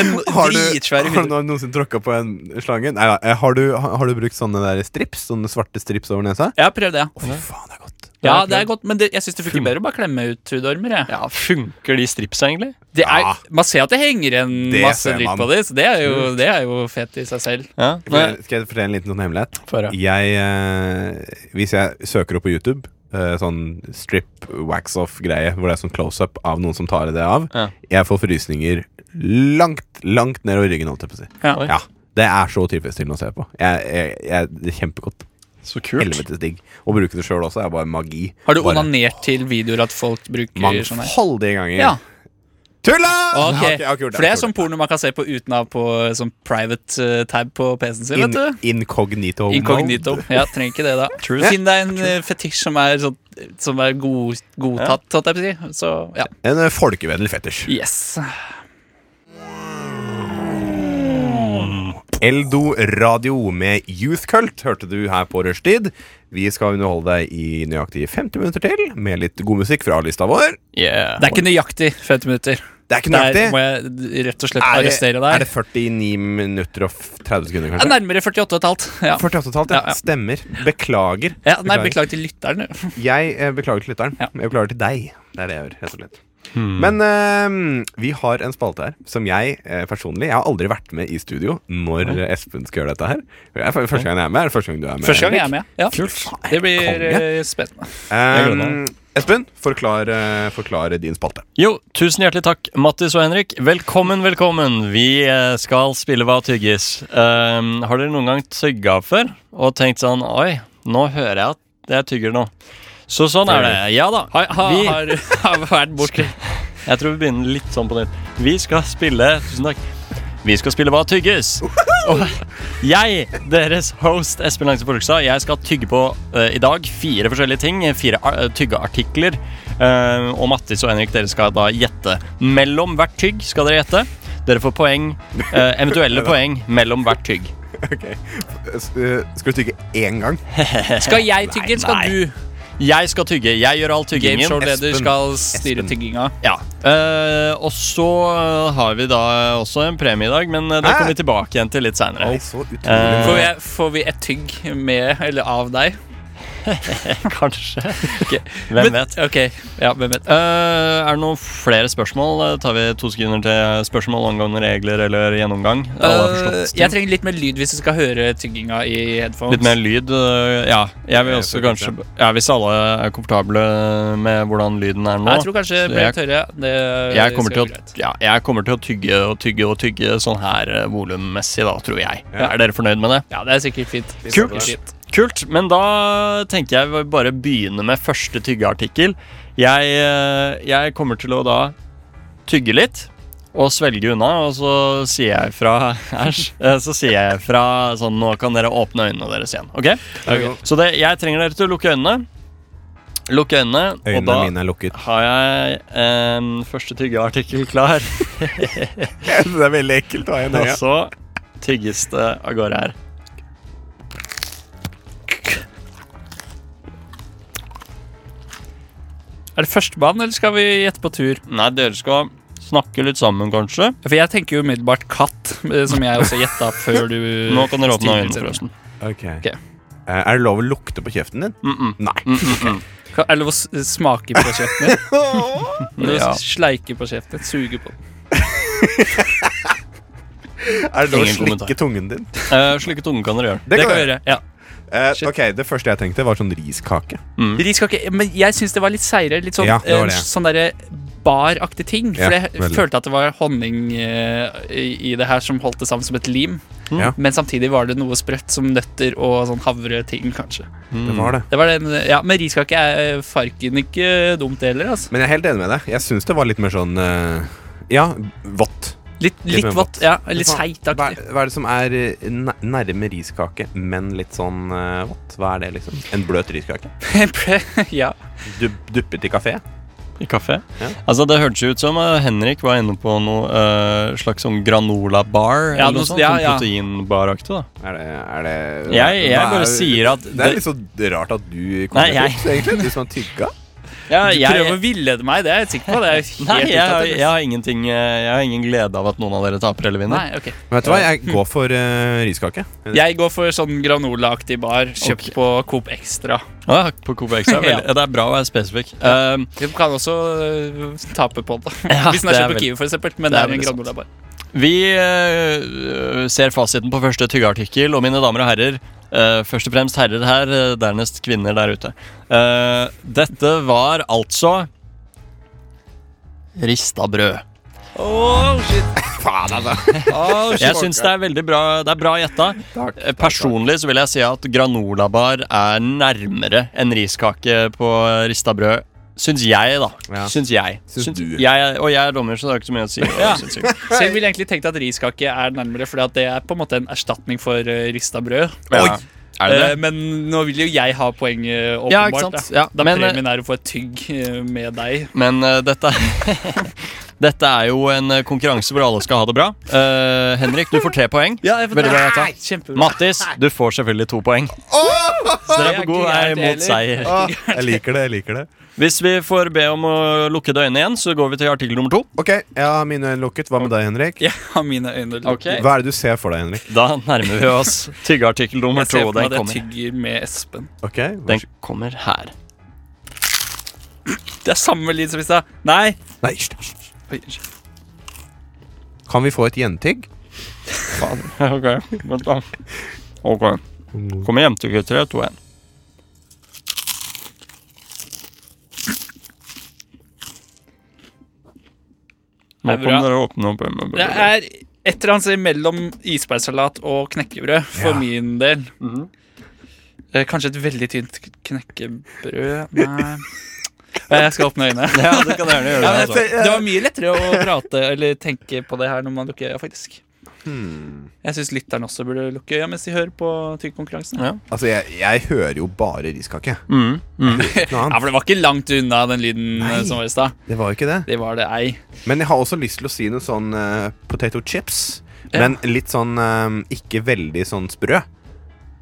Speaker 3: en
Speaker 2: Har du,
Speaker 3: dritsvær
Speaker 2: har du
Speaker 3: hud.
Speaker 2: noen- noensinne tråkka på en slange? Nei da. eh, Har, du- har du brukt sånne der strips? Sånne svarte strips over nesa?
Speaker 3: Jeg har prøvd det, ja.
Speaker 2: Å, fy faen, det er godt.
Speaker 3: ja. Det er godt, men det, jeg syns det funker bedre å bare klemme ut hudormer. Jeg.
Speaker 4: Ja, Funker de stripsa, egentlig?
Speaker 3: Det er,
Speaker 2: Ja.
Speaker 3: man ser at det henger en
Speaker 2: Det
Speaker 3: masse
Speaker 2: ser
Speaker 3: dritt
Speaker 2: man.
Speaker 3: på det, så det er jo, det er jo fet i seg selv.
Speaker 4: Ja,
Speaker 2: Skal jeg- Skal jeg fortelle en liten sånn hemmelighet?
Speaker 4: Få høre.
Speaker 2: Jeg, eh, hvis jeg søker opp på YouTube eh, sånn strip wax off-greie, hvor det er sånn close-up av noen som tar det av,
Speaker 4: Ja.
Speaker 2: jeg får frysninger langt, langt nedover ryggen, holdt jeg på å si.
Speaker 3: Ja.
Speaker 4: Oi.
Speaker 2: Ja, det er så tilfredsstillende å se på. Jeg, jeg, jeg, det er kjempegodt.
Speaker 4: Så kult.
Speaker 2: Helvetes digg. Å bruke det sjøl også er bare magi.
Speaker 3: Har du
Speaker 2: Bare
Speaker 3: onanert til videoer at folk bruker sånn her?
Speaker 2: Mangfoldige ganger.
Speaker 3: Ja.
Speaker 2: Tulla!
Speaker 3: Ok,
Speaker 2: Jeg har ikke- jeg har ikke gjort
Speaker 3: For det er
Speaker 2: jeg
Speaker 3: sånn porno man kan se på uten å ha på eh, sånn private eh, tab på PC-en sin.
Speaker 2: har ikke gjort det.
Speaker 3: vet du
Speaker 2: In, oh incognito.
Speaker 3: Inkognito.
Speaker 2: mode.
Speaker 3: Ja, trenger ikke det, da. Finn deg en eh, fetisj som er, sånn, som er god, godtatt, holdt jeg på å si. Så ja.
Speaker 2: En eh, folkevennlig fetisj.
Speaker 3: Yes.
Speaker 2: Eldo Radio med Youth Cult hørte du her på rushtid. Vi skal underholde deg i nøyaktig 50 minutter til med litt god musikk fra lista vår.
Speaker 4: Yeah.
Speaker 3: Det er ikke nøyaktig 50 minutter.
Speaker 2: Det er ikke
Speaker 3: Der
Speaker 2: nøyaktig.
Speaker 3: må jeg rett og slett
Speaker 2: Er det,
Speaker 3: arrestere
Speaker 2: er
Speaker 3: deg.
Speaker 2: det 49 minutter og f- 30 sekunder,
Speaker 3: Ja,
Speaker 2: kanskje?
Speaker 3: Nærmere 48,5. Ja.
Speaker 2: 48,5, ja.
Speaker 3: Ja, ja.
Speaker 2: Stemmer. Beklager.
Speaker 3: Ja, nei, beklager til lytteren. jo.
Speaker 2: Jeg eh, beklager til lytteren.
Speaker 3: Ja.
Speaker 2: Jeg beklager til deg. Det er det jeg gjør, rett og slett. Men eh, vi har en spalte her som jeg eh, personlig Jeg har aldri vært med i studio når eh, Espen skal gjøre dette her. Det er f- første gang jeg er med. Er det første gang du er med?
Speaker 3: Første gang jeg
Speaker 2: Henrik?
Speaker 3: er med. Ja. Det blir eh, spennende.
Speaker 4: Jeg gleder
Speaker 2: Um, Espen, forklar, eh, forklar din spalte.
Speaker 4: Jo, tusen hjertelig takk, Mattis og Henrik. Velkommen, velkommen. Vi eh, skal spille Hva tygges. Ehm, har dere noen gang tygga før og tenkt sånn Oi, nå hører jeg at jeg tygger nå. Så sånn er det. Ja da.
Speaker 3: Har, har,
Speaker 4: Vi-
Speaker 3: har, har vært borti
Speaker 4: Jeg tror vi begynner litt sånn på nytt. Vi skal spille Tusen takk. Vi skal spille Hva tygges. Og jeg, deres host Espen Langse Folkestad, jeg skal tygge på eh, i dag fire forskjellige ting. Fire ar- tyggeartikler. Eh, og Mattis og Henrik, dere skal da gjette. Mellom hvert tygg skal dere gjette. Dere får poeng, eh, eventuelle poeng mellom hvert tygg.
Speaker 2: S- eh, Skal du tygge én gang?
Speaker 3: Skal jeg tygge, eller
Speaker 4: Nei,
Speaker 3: skal
Speaker 4: nei.
Speaker 3: du?
Speaker 4: Jeg skal tygge. Jeg gjør all tyggingen.
Speaker 3: Gameshow-leder
Speaker 2: Espen.
Speaker 3: skal styre
Speaker 2: Espen.
Speaker 3: tygginga.
Speaker 4: Ja. Eh, og så har vi da også en premie i dag, men eh, det
Speaker 2: Hæ?
Speaker 4: kommer vi tilbake igjen til litt seinere.
Speaker 2: Nei, så utrolig.
Speaker 4: Eh,
Speaker 3: Får, jeg, får vi et tygg med eller av deg?
Speaker 4: Kanskje. Hvem
Speaker 3: Men-
Speaker 4: vet.
Speaker 3: Ok, ja, hvem vet
Speaker 4: Eh, er det noen flere spørsmål? Eh, Tar vi to sekunder til spørsmål angående regler eller gjennomgang? Alle har
Speaker 3: Eh,
Speaker 4: forstått ting.
Speaker 3: Jeg trenger litt mer lyd hvis du skal høre tygginga i headphones.
Speaker 4: Litt mer lyd. eh, ja, jeg vil
Speaker 2: Jeg
Speaker 4: også
Speaker 2: tror
Speaker 4: kanskje
Speaker 2: kanskje.
Speaker 4: Ja, Hvis alle er komfortable med hvordan lyden er nå.
Speaker 3: Nei, Jeg tror kanskje
Speaker 4: Så
Speaker 3: ble
Speaker 4: jeg-
Speaker 3: tørre. Det
Speaker 4: jeg kommer,
Speaker 3: skal
Speaker 4: til
Speaker 3: gå
Speaker 4: å,
Speaker 3: greit.
Speaker 4: ja, jeg kommer til å tygge og tygge og tygge sånn her eh, volummessig, da, tror jeg.
Speaker 2: Ja.
Speaker 4: Er dere fornøyd med det?
Speaker 3: Ja, det er sikkert fint.
Speaker 4: Kult.
Speaker 3: Sikkert fint.
Speaker 4: Kult, men da tenker jeg vi bare begynner med første tyggeartikkel. Jeg, eh, jeg kommer til å da tygge litt og svelge unna, og så sier jeg fra Æsj. eh, Så sier jeg fra sånn Nå kan dere åpne øynene deres igjen. Ok?
Speaker 2: Ok.
Speaker 4: Så det, jeg trenger dere til å lukke øynene. Lukk øynene, og
Speaker 2: Øynene
Speaker 4: da
Speaker 2: mine er lukket.
Speaker 4: har jeg en første tyggeartikkel klar.
Speaker 2: det er veldig ekkelt å ha en
Speaker 4: Og så tygges det av gårde her.
Speaker 3: Er det førstemann, eller skal vi gjette på tur?
Speaker 4: Nei, dere skal snakke litt sammen, kanskje.
Speaker 3: For jeg tenker jo umiddelbart katt, eh, som jeg også gjetta før du
Speaker 4: Nå kan dere åpne
Speaker 3: stilte
Speaker 4: øynene,
Speaker 3: sendingen.
Speaker 4: forresten.
Speaker 3: Ok.
Speaker 2: Eh, Er det lov å lukte på kjeften din?
Speaker 4: Mm -mm.
Speaker 2: Nei.
Speaker 4: Mm -mm -mm.
Speaker 3: Ka- Er det lov å s- smake på kjeften din? Eller
Speaker 4: Ja.
Speaker 3: å Sleike på kjeften din? Suge på den?
Speaker 2: Er det lov å
Speaker 4: Ingen kommentar.
Speaker 2: slikke tungen din?
Speaker 4: Eh, slike tunge kan dere gjøre.
Speaker 3: Det kan vi gjøre. ja
Speaker 2: Eh,
Speaker 3: Shit.
Speaker 2: ok, Det første jeg tenkte, var sånn riskake.
Speaker 3: Riskake, men jeg syns det var litt seigere. Litt sånn,
Speaker 2: Mm. Ja, det var
Speaker 3: eh,
Speaker 2: det.
Speaker 3: sånn derre baraktig ting. For
Speaker 2: Ja,
Speaker 3: jeg
Speaker 2: veldig.
Speaker 3: følte at det var honning eh, i i det her som holdt det sammen som et lim.
Speaker 2: Ja.
Speaker 3: Men samtidig var det noe sprøtt som nøtter og sånn havreting, kanskje.
Speaker 4: Mm.
Speaker 2: Det var det.
Speaker 3: Det var den, ja, Men riskake er eh, farken ikke dumt, det heller. Altså.
Speaker 2: Men jeg er helt enig med deg. Jeg syns det var litt mer sånn eh, Ja, vått.
Speaker 3: Litt,
Speaker 2: Litt
Speaker 3: litt
Speaker 2: mer
Speaker 3: vått.
Speaker 2: vått.
Speaker 3: Ja, litt
Speaker 2: Hva- Hva,
Speaker 3: seitaktig.
Speaker 2: er- hva er det som er eh, nær- nærme riskake, men litt sånn eh, vått? Hva er det, liksom? En bløt riskake?
Speaker 3: ja.
Speaker 2: Du, duppet i kafé?
Speaker 4: I kafé?
Speaker 2: Ja.
Speaker 4: Altså, det hørtes jo ut som eh, Henrik var inne på noe eh, slags sånn granola-bar.
Speaker 3: Ja,
Speaker 4: eller noe
Speaker 3: noe-
Speaker 4: sånt,
Speaker 3: ja,
Speaker 4: sånn
Speaker 3: ja.
Speaker 4: proteinbaraktig, da.
Speaker 2: Er det, er det
Speaker 4: Jeg- jeg
Speaker 2: hva
Speaker 4: bare
Speaker 2: er-
Speaker 4: sier at
Speaker 2: Det er
Speaker 4: det-
Speaker 2: litt så rart at du kom
Speaker 4: Nei,
Speaker 2: med
Speaker 4: jeg-
Speaker 2: tips, egentlig. Du som har tygga.
Speaker 4: Ja,
Speaker 3: Du
Speaker 4: jeg,
Speaker 3: prøver å villede meg, det er jeg sikker på. Det er helt
Speaker 4: nei, jeg, har-
Speaker 3: utatt,
Speaker 4: jeg har ingenting eh, Jeg har ingen glede av at noen av dere taper eller vinner.
Speaker 3: Nei, ok
Speaker 2: Men vet du hva, jeg går for eh, riskake.
Speaker 3: Jeg går for sånn granola-aktig bar kjøpt på Coop Extra.
Speaker 4: Ah, på Coop Extra,
Speaker 3: Ja.
Speaker 4: veldig- ja. Det er bra å være spesifikk. Um,
Speaker 3: Du kan også øh, tape på det.
Speaker 4: Ja,
Speaker 3: Hvis den er
Speaker 4: det er
Speaker 3: kjøpt på
Speaker 4: vel-
Speaker 3: Kiwi, for eksempel. Men
Speaker 4: det
Speaker 3: det
Speaker 4: er
Speaker 3: er en
Speaker 4: veldig sant.
Speaker 3: granola bar.
Speaker 4: Vi eh, ser fasiten på første tyggeartikkel, og mine damer og herrer eh, Først og fremst herrer her, eh, dernest kvinner der ute. Eh, dette var altså Rista brød.
Speaker 3: Oh, shit.
Speaker 2: Faen, altså!
Speaker 4: Jeg syns det er veldig bra Det er bra gjetta.
Speaker 2: Takk,
Speaker 4: Eh, Personlig så vil jeg si at granolabar er nærmere en riskake på rista brød. Syns jeg, da.
Speaker 2: Ja.
Speaker 4: Syns jeg.
Speaker 2: Syns du.
Speaker 4: jeg. Og jeg er dommer, så det har ikke så mye å si.
Speaker 3: Ja.
Speaker 4: Syns jeg.
Speaker 3: Så jeg ville egentlig tenkt at riskake er nærmere, for det er på en måte en erstatning for øh, rista brød.
Speaker 4: Ja. Er det det?
Speaker 3: Eh, Men nå vil jo jeg ha poenget, åpenbart.
Speaker 4: Ja, ikke sant?
Speaker 3: Da,
Speaker 4: Ja,
Speaker 3: da
Speaker 4: men, eh,
Speaker 3: premien er å få et tygg eh, med deg.
Speaker 4: Men eh, dette, dette er jo en eh, konkurranse hvor alle skal ha det bra. Eh, Henrik, du får tre poeng.
Speaker 3: Ja, jeg får
Speaker 4: Veldig bra gjetta.
Speaker 3: Kjempebra.
Speaker 4: Mattis, du får selvfølgelig to poeng. Så dere er på god vei mot seier.
Speaker 3: Ah.
Speaker 2: Å, Ah, jeg liker det, jeg liker det.
Speaker 4: Hvis vi får be om å lukke øynene igjen, så går vi til artikkel nummer to.
Speaker 2: Ok, jeg har mine øyne lukket. Hva med deg, Henrik?
Speaker 3: Jeg har mine øyne lukket.
Speaker 4: Ok.
Speaker 2: Hva er det du ser for deg, Henrik?
Speaker 4: Da nærmer vi oss tyggeartikkel nummer
Speaker 3: Jeg ser
Speaker 4: to.
Speaker 3: for meg
Speaker 4: Den
Speaker 3: at jeg
Speaker 4: kommer.
Speaker 3: tygger med Espen.
Speaker 2: Ok, vær
Speaker 4: den
Speaker 2: så-
Speaker 4: kommer her.
Speaker 3: Det er samme lyd som i stad. Nei!
Speaker 2: Nei, hysj, hysj.
Speaker 3: Oi, unnskyld.
Speaker 2: Kan vi få et gjentygg?
Speaker 4: Ok, vent da. Ok. Kommer hjem til gutter. Tre, to, én. Nå
Speaker 3: Det er bra.
Speaker 4: kan dere åpne opp øynene.
Speaker 3: Det er et eller annet sted mellom isbergsalat og knekkebrød for
Speaker 2: Ja.
Speaker 3: min del.
Speaker 4: Mhm.
Speaker 3: Eh, Kanskje et veldig tynt k- knekkebrød Nei. Eh, Jeg skal åpne øynene.
Speaker 4: Ja, du kan gjerne gjøre
Speaker 3: Ja, men jeg
Speaker 4: det. Altså.
Speaker 3: ser- Det var mye lettere å prate eller tenke på det her når man lukker øya, faktisk.
Speaker 4: Hmm.
Speaker 3: Jeg syns lytterne også burde lukke øya mens de hører på Tyggkonkurransen.
Speaker 4: Ja.
Speaker 3: Ja.
Speaker 2: Altså, jeg, jeg hører jo bare riskake.
Speaker 4: Mm, mm.
Speaker 2: Ikke noe annet.
Speaker 3: for det var ikke langt unna den lyden eh,
Speaker 2: Nei.
Speaker 3: som var i stad.
Speaker 2: Det var jo ikke det.
Speaker 3: Det var det ei.
Speaker 2: Men jeg har også lyst til å si noe sånn eh, potato chips.
Speaker 3: Ja.
Speaker 2: Men litt sånn eh, ikke veldig sånn sprø.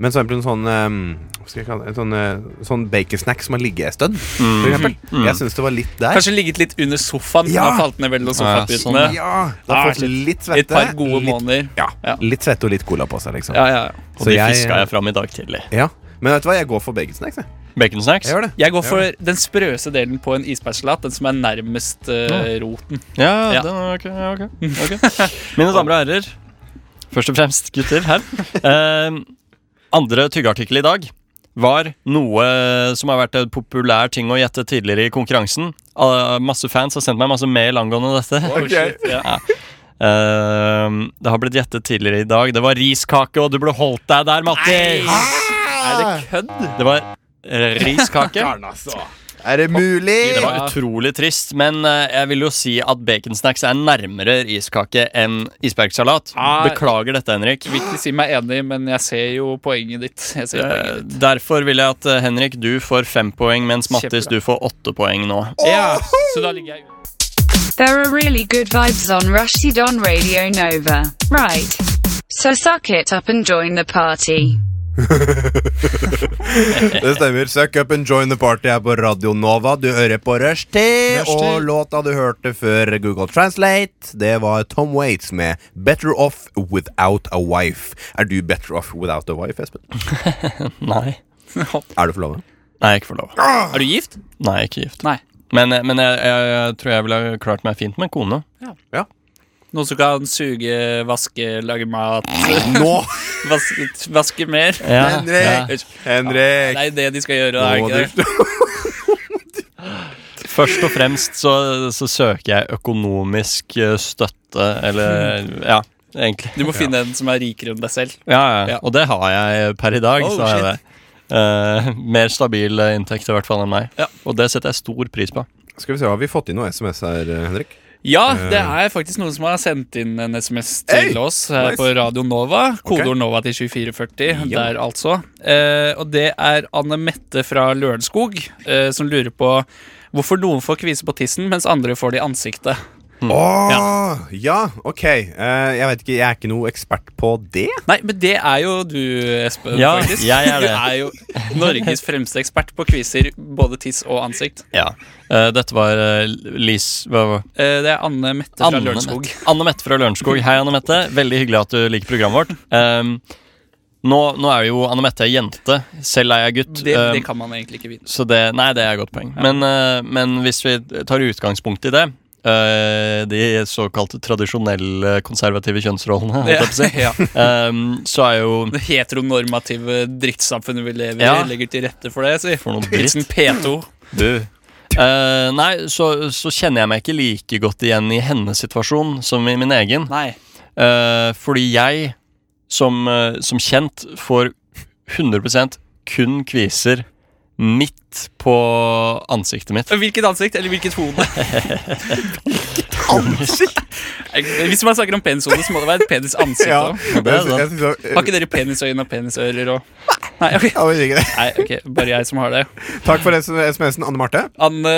Speaker 2: Men for eksempel en sånn eh, Hva skal jeg kalle det? En Sånn, eh, sånn baconsnack som har ligget en stund,
Speaker 4: Mm-hmm.
Speaker 2: for eksempel.
Speaker 4: Mm.
Speaker 2: Jeg syns det var litt der.
Speaker 3: Kanskje ligget litt under sofaen.
Speaker 2: Ja.
Speaker 3: Ja. Har falt ned mellom
Speaker 4: Ja,
Speaker 3: sofaputene.
Speaker 4: sånn,
Speaker 2: Ja! Det har
Speaker 3: Ah,
Speaker 2: fått litt svette.
Speaker 3: Et par gode
Speaker 2: litt,
Speaker 3: måneder.
Speaker 2: Ja,
Speaker 3: Ja.
Speaker 2: litt svette og litt cola på seg, liksom.
Speaker 3: Ja, ja, ja.
Speaker 4: Og de
Speaker 2: Så jeg-
Speaker 4: fiska jeg fram i dag eh, tidlig.
Speaker 2: Ja. Men vet du hva, jeg går for baconsnacks. Jeg.
Speaker 4: Baconsnacks?
Speaker 2: jeg gjør det.
Speaker 3: Jeg går for den sprøeste delen på en isbergsalat. Den som er nærmest eh, roten.
Speaker 4: Ja,
Speaker 3: Ja.
Speaker 4: Den, er ok, ja, ok, ok. Mine damer og herrer, først og fremst gutter her. Eh, andre tyggeartikkel i dag var noe som har vært en populær ting å gjette tidligere i konkurransen. Eh, masse fans har sendt meg masse mail angående dette.
Speaker 3: Oh, shit, ja.
Speaker 4: Eh, det har blitt gjettet tidligere i dag. Det var riskake, og du ble holdt deg der, Matti!
Speaker 2: Ah!
Speaker 3: Er det kødd?
Speaker 4: Det var eh, riskake.
Speaker 2: altså. Er det mulig?
Speaker 4: Det var utrolig trist, men eh, jeg vil jo si at baconsnacks er nærmere iskake enn isbergsalat.
Speaker 3: Nei.
Speaker 4: Beklager dette, Henrik.
Speaker 3: Vil ikke si meg enig, men jeg ser jo poenget ditt. Jeg ser
Speaker 4: Eh,
Speaker 3: poenget ditt.
Speaker 4: Derfor vil jeg at eh, Henrik, du får fem poeng, mens Mattis,
Speaker 3: Kjempebra.
Speaker 4: du får åtte poeng nå.
Speaker 3: Ja, så da ligger jeg
Speaker 6: There are really good vibes on Rushdie on Radio Nova. Right. So suck it up and join the party.
Speaker 2: Det stemmer. Suck up and join the party her på Radio Nova. Du hører på Rushtid,
Speaker 4: Rushdie.
Speaker 2: og låta du hørte før Google Translate, det var Tom Waits med 'Better Off Without A Wife'. Er du better off without a wife, Espen?
Speaker 4: Nei.
Speaker 2: Er du forlova?
Speaker 4: Nei, ikke forlova.
Speaker 3: Er du gift?
Speaker 4: Nei, ikke gift.
Speaker 3: Nei.
Speaker 4: Men, eh, men jeg, jeg, jeg tror jeg ville ha klart meg fint med en kone.
Speaker 3: Noen som kan suge, vaske, lage mat,
Speaker 2: Nå,
Speaker 3: vaske, vaske mer?
Speaker 4: ja.
Speaker 2: Henrik! Henrik!
Speaker 3: Det er jo det de skal gjøre. Er
Speaker 2: Nå
Speaker 3: det ikke det?
Speaker 4: Først og fremst så, så søker jeg økonomisk eh, støtte, eller Ja, egentlig.
Speaker 3: Du må finne en som er rikere enn deg selv.
Speaker 4: Ja, ja.
Speaker 3: Ja.
Speaker 4: Og det har jeg per i dag.
Speaker 3: Oh,
Speaker 4: så har jeg
Speaker 3: shit.
Speaker 4: det. Eh, mer stabil eh, inntekt i hvert fall enn meg.
Speaker 3: Ja.
Speaker 4: Og det setter jeg stor pris på.
Speaker 2: Skal vi se, Har vi fått inn noe SMS her, eh, Henrik?
Speaker 3: Ja,
Speaker 4: Eh.
Speaker 3: det er faktisk noen som har sendt inn en SMS til
Speaker 2: Hey,
Speaker 3: oss her
Speaker 2: nice.
Speaker 3: på Radio Nova. Kodeord
Speaker 2: Ok.
Speaker 3: Nova til 2440
Speaker 2: Ja.
Speaker 3: der, altså. Eh, og det er Anne Mette fra Lørenskog eh, som lurer på hvorfor noen får kvise på tissen, mens andre får det i ansiktet.
Speaker 4: Mm.
Speaker 2: Åh, ja. ok. Eh, jeg vet ikke, jeg er ikke noe ekspert på det.
Speaker 3: Nei, men det er jo du, Espen.
Speaker 4: Ja,
Speaker 3: faktisk.
Speaker 4: jeg er det.
Speaker 3: Du er jo Norges fremste ekspert på kviser, både tiss og ansikt.
Speaker 4: Ja. Eh, dette var eh, Lis hva, var-
Speaker 3: Eh, det er Anne Mette fra
Speaker 4: Anne
Speaker 3: Lørenskog.
Speaker 4: Mette. Anne Mette fra Lørenskog. Hei, Anne Mette. Veldig hyggelig at du liker programmet vårt. Um, nå, nå er jo Anne Mette jente. Selv er jeg gutt.
Speaker 3: Det,
Speaker 4: Um,
Speaker 3: det kan man egentlig ikke vite.
Speaker 4: Så det, nei, det er et godt poeng. Men, eh, men hvis vi tar utgangspunkt i det eh, de såkalte tradisjonelle konservative kjønnsrollene, holdt jeg på å si,
Speaker 3: Ja.
Speaker 4: eh, så er jo
Speaker 3: Det heteronormative drittsamfunnet vi lever i,
Speaker 4: Ja.
Speaker 3: legger til rette for det. Si.
Speaker 4: For noe dritt.
Speaker 3: Hilsen P2.
Speaker 4: Eh, Nei, så, så kjenner jeg meg ikke like godt igjen i hennes situasjon som i min egen.
Speaker 3: Nei.
Speaker 4: Eh, fordi jeg, som, eh, som kjent, får 100 kun kviser midt på ansiktet mitt.
Speaker 3: Hvilket ansikt, eller hvilket hode? ansikt? Hvis man snakker om penishode, så må det være et penisansikt òg.
Speaker 4: det er sant.
Speaker 2: Jeg synes det var-
Speaker 3: Har ikke dere penisøyne og penisører og Nei, ok.
Speaker 2: Ja, men ikke det.
Speaker 3: Nei, ok, bare jeg som har det.
Speaker 2: Takk for SMS-en, Anne Marte.
Speaker 3: Anne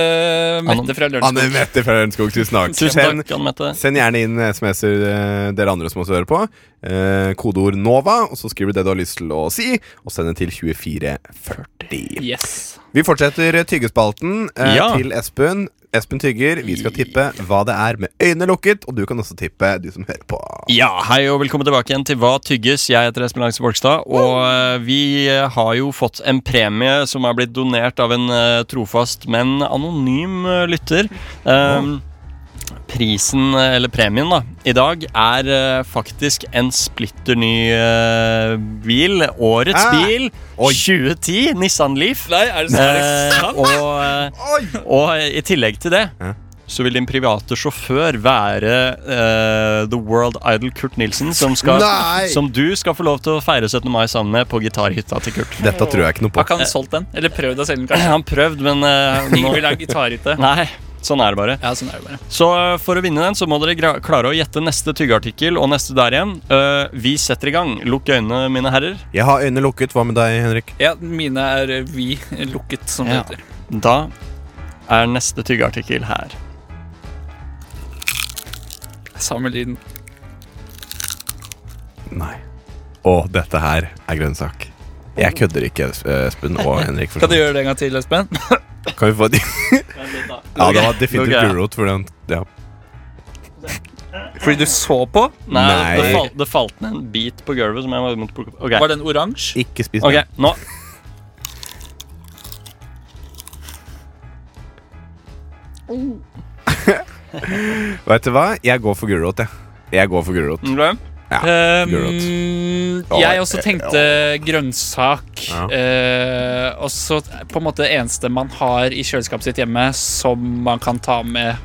Speaker 3: Mette fra
Speaker 2: Anne
Speaker 3: Lørenskog.
Speaker 2: Mette fra Lørenskog, tusen takk.
Speaker 4: Tusen
Speaker 2: Send-
Speaker 4: takk, Anne Mette.
Speaker 2: Send gjerne inn SMS-er, eh, dere andre som også hører på. Eh, kodeord NOVA, og så skriver du det du har lyst til å si, og send det til 2440.
Speaker 3: Yes.
Speaker 2: Vi fortsetter tyggespalten eh,
Speaker 4: Ja.
Speaker 2: til Espen. Espen tygger. Vi skal tippe hva det er med øynene lukket, og du kan også tippe, du som hører på.
Speaker 4: Ja, hei og velkommen tilbake igjen til Hva tygges? Jeg heter Espen Langs Borgstad, og eh, vi eh, har jo fått en premie som er blitt donert av en eh, trofast, men anonym eh, lytter. Um, Prisen, eh, eller premien, da, i dag er eh, faktisk en splitter ny eh, bil. Årets
Speaker 2: Ah!
Speaker 4: bil
Speaker 2: Oi.
Speaker 4: 2010, Nissan Leaf.
Speaker 3: Nei, er det så er det
Speaker 4: Eh,
Speaker 3: sant?
Speaker 4: og eh,
Speaker 2: Oi!
Speaker 4: og i tillegg til det
Speaker 2: Ja.
Speaker 4: så vil din private sjåfør være eh, The World Idol Kurt Nilsen, som, skal,
Speaker 2: Nei!
Speaker 4: som du skal få lov til å feire 17. mai sammen med på gitarhytta til Kurt.
Speaker 2: Dette tror jeg ikke noe
Speaker 3: Har
Speaker 2: på.
Speaker 3: ikke han solgt den? Eller prøvd å selge den, kanskje?
Speaker 4: Han prøvde, men eh,
Speaker 3: Ingen
Speaker 4: nå,
Speaker 3: vil ha gitarhytte.
Speaker 4: Nei, sånn er det bare.
Speaker 3: Ja, sånn er det bare.
Speaker 4: Så eh, for å vinne den, så må dere gra- klare å gjette neste tyggeartikkel og neste der igjen. Eh, vi setter i gang. Lukk øynene, mine herrer.
Speaker 2: Jeg har øynene lukket. Hva med deg, Henrik?
Speaker 3: Ja, mine er eh, vi lukket, som det
Speaker 4: Ja.
Speaker 3: heter.
Speaker 4: Da er neste tyggeartikkel her.
Speaker 3: Samme lyden.
Speaker 2: Nei. Og dette her er grønnsak. Jeg kødder ikke, Es- Espen og Henrik. for
Speaker 3: Kan du
Speaker 2: sånn.
Speaker 3: gjøre det en gang til, Espen?
Speaker 2: Kan vi få de? Ja, det var definitivt
Speaker 4: Ok.
Speaker 2: gulrot. for den- Ja.
Speaker 3: Fordi du så på?
Speaker 4: Nei,
Speaker 2: Nei.
Speaker 4: Det, falt, det falt ned en bit på gulvet som jeg måtte plukke opp. Ok.
Speaker 3: Var den oransje?
Speaker 2: Ikke spis den.
Speaker 4: Ok, nå
Speaker 2: Vet du hva? Jeg går for gulrot, jeg. Jeg går for gulrot.
Speaker 3: Mm.
Speaker 4: Ok.
Speaker 3: Ehm,
Speaker 2: Ja, gulrot.
Speaker 3: Um, jeg også
Speaker 4: eh,
Speaker 3: tenkte grønnsak.
Speaker 2: Ja.
Speaker 3: eh, og så på en måte det eneste man har i kjøleskapet sitt hjemme som man kan ta med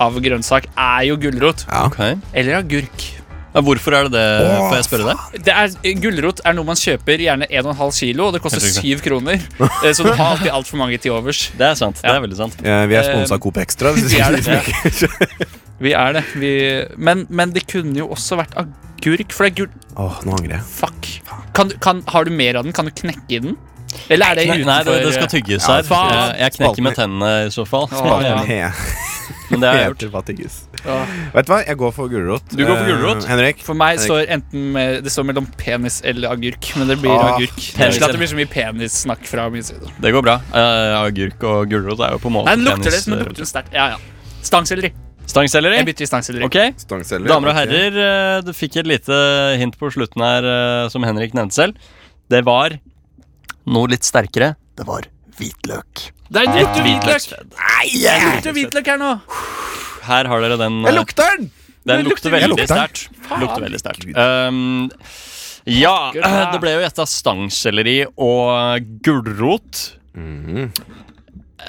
Speaker 3: av grønnsak, er jo gulrot.
Speaker 2: Ja.
Speaker 4: Ok.
Speaker 3: Eller agurk.
Speaker 4: Ja, hvorfor er det det, får jeg spørre deg?
Speaker 3: Det er, gulrot er noe man kjøper gjerne 1,5 kilo, og det koster
Speaker 4: Helt riktig.
Speaker 3: 7 kroner. Eh, Så du har alltid altfor mange til overs.
Speaker 4: Det er sant. det er veldig sant
Speaker 2: Eh, vi er sponsa av Coop Extra. hvis
Speaker 3: ehm, vi er det.
Speaker 2: liksom ikke-
Speaker 3: Vi er det. Vi, men, men det kunne jo også vært agurk, for det er gul...
Speaker 2: Åh, nå angrer jeg.
Speaker 3: Fuck. Kan, du- kan, har du mer av den? Kan du knekke i den? Eller er det
Speaker 4: Nei,
Speaker 3: utenfor eh,
Speaker 4: nei det, det skal tygges her.
Speaker 3: faen.
Speaker 4: Jeg- jeg knekker med tennene i så fall.
Speaker 3: Å, ja.
Speaker 2: He-
Speaker 4: Men det har jeg gjort.
Speaker 2: Heter Fattigis.
Speaker 3: Ja.
Speaker 2: Vet du hva, jeg går for gulrot.
Speaker 4: Du går for gulrot?
Speaker 2: Eh, Henrik?
Speaker 3: For meg
Speaker 2: Henrik.
Speaker 3: står enten med, det står mellom penis eller agurk, men det blir
Speaker 2: Ah,
Speaker 3: agurk. Det er
Speaker 4: penis.
Speaker 3: slik at det blir så mye penissnakk fra min side.
Speaker 4: Det går bra. Eh, agurk og gulrot er jo på måte
Speaker 3: Nei, den lukter det,
Speaker 4: penis-
Speaker 3: men den lukter sterkt. Ja, ja. Stangselleri. Jeg
Speaker 4: Stangselleri?
Speaker 3: bytter i stangselleri.
Speaker 4: Ok.
Speaker 2: Stangselger.
Speaker 4: Damer og herrer, eh, du fikk et lite hint på slutten her eh, som Henrik nevnte selv. Det var noe litt sterkere. Det var hvitløk.
Speaker 3: Det er en lukter hvitløk! Det
Speaker 4: Nei!
Speaker 3: lukter hvitløk her nå.
Speaker 4: Her har dere den. eh,
Speaker 2: Jeg lukter den!
Speaker 4: Den
Speaker 3: Jeg
Speaker 4: lukter
Speaker 3: lukter- jeg
Speaker 4: veldig
Speaker 2: lukter den.
Speaker 4: sterkt. Lukter veldig sterkt. Um, ja,
Speaker 3: Pakker,
Speaker 4: det ble jo gjetta stangselleri og gulrot.
Speaker 2: Mhm.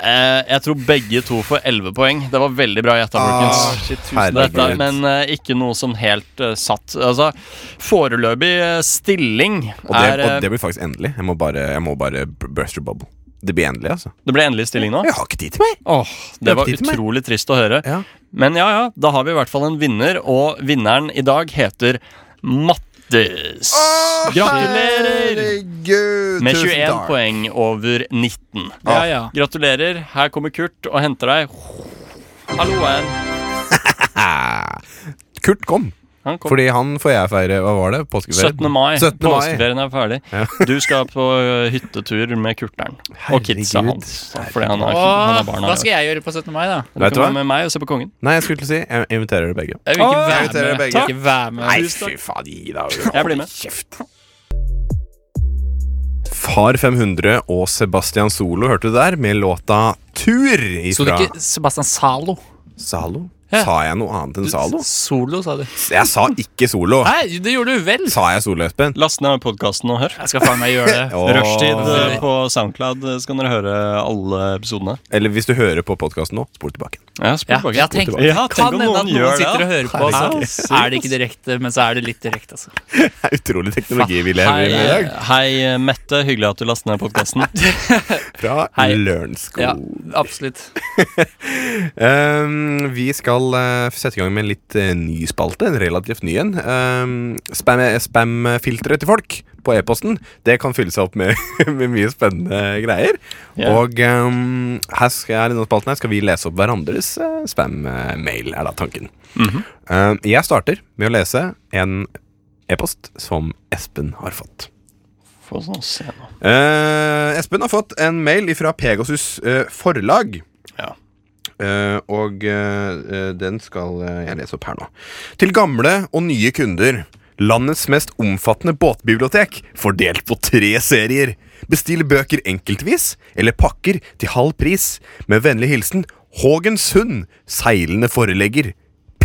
Speaker 4: Eh, jeg tror begge to får 11 poeng. Det var veldig bra gjetta,
Speaker 2: Ah,
Speaker 4: folkens.
Speaker 2: shit,
Speaker 4: Tusen takk,
Speaker 2: herregud.
Speaker 4: men eh, ikke noe sånn helt eh, satt. Altså, foreløpig eh, stilling
Speaker 2: Og det,
Speaker 4: er eh,
Speaker 2: og det blir faktisk endelig. Jeg må bare, jeg må bare b- burst your bubble. Det blir endelig, altså.
Speaker 4: Det ble endelig stilling nå?
Speaker 2: Jeg har ikke tid til meg!
Speaker 4: Åh, det
Speaker 2: Hjelp
Speaker 4: var
Speaker 2: til meg.
Speaker 4: utrolig trist å høre.
Speaker 2: Ja.
Speaker 4: Men ja, ja, da har vi i hvert fall en vinner, og vinneren i dag heter Mattis. Gratulerer!
Speaker 2: Herregud,
Speaker 4: Med
Speaker 2: tusen
Speaker 4: 21
Speaker 2: takk.
Speaker 4: poeng over 19.
Speaker 3: Ja, ja.
Speaker 4: Gratulerer. Her kommer Kurt og henter deg. Hallo, Ann.
Speaker 2: Kurt kom,
Speaker 4: Han kom.
Speaker 2: fordi han får jeg feire Hva var det? Påskeferie?
Speaker 4: 17. mai.
Speaker 2: 17. mai.
Speaker 4: Påskeferien er ferdig. Du skal på ø, hyttetur med Kurteren. Og kidsa
Speaker 2: Herregud.
Speaker 4: hans. Fordi han har, han
Speaker 3: Åh,
Speaker 4: har barna.
Speaker 3: hva skal jeg gjøre på 17. mai, da?
Speaker 4: Du
Speaker 2: Vet du
Speaker 4: kan
Speaker 2: hva?
Speaker 4: være med meg og se på Kongen.
Speaker 2: Nei, jeg skulle til å si jeg inviterer dere begge.
Speaker 3: Jeg vil ikke
Speaker 2: Åh, jeg
Speaker 3: være
Speaker 2: inviterer
Speaker 3: med.
Speaker 2: begge.
Speaker 3: Jeg vil ikke være med.
Speaker 2: Nei,
Speaker 3: Tusen takk.
Speaker 2: fy faen, gi deg.
Speaker 4: Jeg blir med.
Speaker 2: Kjeft. Far 500 og Sebastian Solo hørte du der, med låta Tur
Speaker 3: Så du
Speaker 2: ifra
Speaker 3: ikke Sebastian Zalo?
Speaker 2: Zalo?
Speaker 3: Ja.
Speaker 2: Sa jeg noe annet enn Zalo?
Speaker 3: Solo, sa du.
Speaker 2: Jeg sa ikke Solo.
Speaker 3: Nei, det gjorde du vel!
Speaker 2: Sa jeg Solo, Espen?
Speaker 4: Last ned podkasten og hør.
Speaker 3: Jeg skal faen meg gjøre det.
Speaker 2: Åh.
Speaker 4: Rushtid eh, på Soundcloud, eh, så kan dere høre alle episodene.
Speaker 2: Eller hvis du hører på podkasten nå, spol tilbake.
Speaker 4: Ja, spol
Speaker 3: Ja,
Speaker 4: tilbake.
Speaker 3: ja, tenk,
Speaker 4: Ja,
Speaker 3: kan
Speaker 4: tenk om
Speaker 3: hende at
Speaker 4: noen
Speaker 3: noen
Speaker 4: gjør det.
Speaker 3: sitter og
Speaker 4: da.
Speaker 3: hører på. Så er det ikke direkte, men så er det litt direkte. Altså.
Speaker 2: Det er utrolig teknologi vi lever i i
Speaker 4: Hei,
Speaker 2: dag.
Speaker 4: Eh, hei, Mette. Hyggelig at du lastet ned podkasten.
Speaker 2: Fra
Speaker 3: Hei.
Speaker 2: Lørenskog.
Speaker 3: Ja, absolutt.
Speaker 2: Um, vi skal eh, sette i gang med en litt eh, ny spalte, en relativt ny en. Um, spam- Spam-filteret til folk på e-posten Det kan fylle seg opp med, med mye spennende greier.
Speaker 4: Ja.
Speaker 2: Og um, her skal, her i denne spalten her skal vi lese opp hverandres eh, spam-mail, er da tanken. Um, jeg starter med å lese en e-post som Espen har fått.
Speaker 4: Få sånn se nå.
Speaker 2: Eh, Espen har fått en mail fra Pegasus eh, forlag.
Speaker 4: Ja.
Speaker 2: Eh, og eh, eh, den skal eh, jeg lese opp her nå. Til gamle og nye kunder. Landets mest omfattende båtbibliotek, fordelt på tre serier. Bestill bøker enkeltvis, eller pakker til halv pris. Med vennlig hilsen Hågensund, seilende forelegger.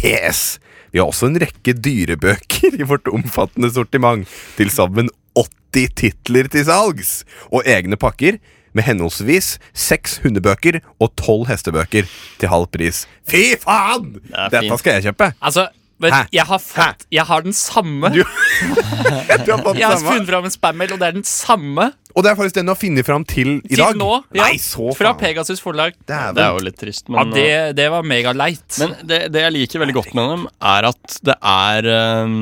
Speaker 2: PS. Vi har også en rekke dyrebøker i vårt omfattende sortiment. Til sammen 80 titler til salgs, og egne pakker med henholdsvis seks hundebøker og tolv hestebøker til halv pris. Fy faen!
Speaker 4: er
Speaker 2: Dette
Speaker 4: fint.
Speaker 2: skal jeg kjøpe.
Speaker 3: Altså, vet,
Speaker 2: Hæ?
Speaker 3: jeg, har fått, jeg har den samme.
Speaker 2: Du- Du har fått
Speaker 3: Jeg har
Speaker 2: samme.
Speaker 3: funnet fram en spam-mail, og det er den samme
Speaker 2: Og det er faktisk den du har funnet fram til i
Speaker 3: til
Speaker 2: dag.
Speaker 3: nå. Ja,
Speaker 2: Nei, så
Speaker 3: fra
Speaker 2: faen.
Speaker 3: Pegasus forlag.
Speaker 4: Det
Speaker 2: Dæven.
Speaker 4: er jo litt trist,
Speaker 3: Ja,
Speaker 4: men
Speaker 3: det, det var megaleit.
Speaker 4: Men det, det jeg liker veldig godt med dem, er at det er ehm,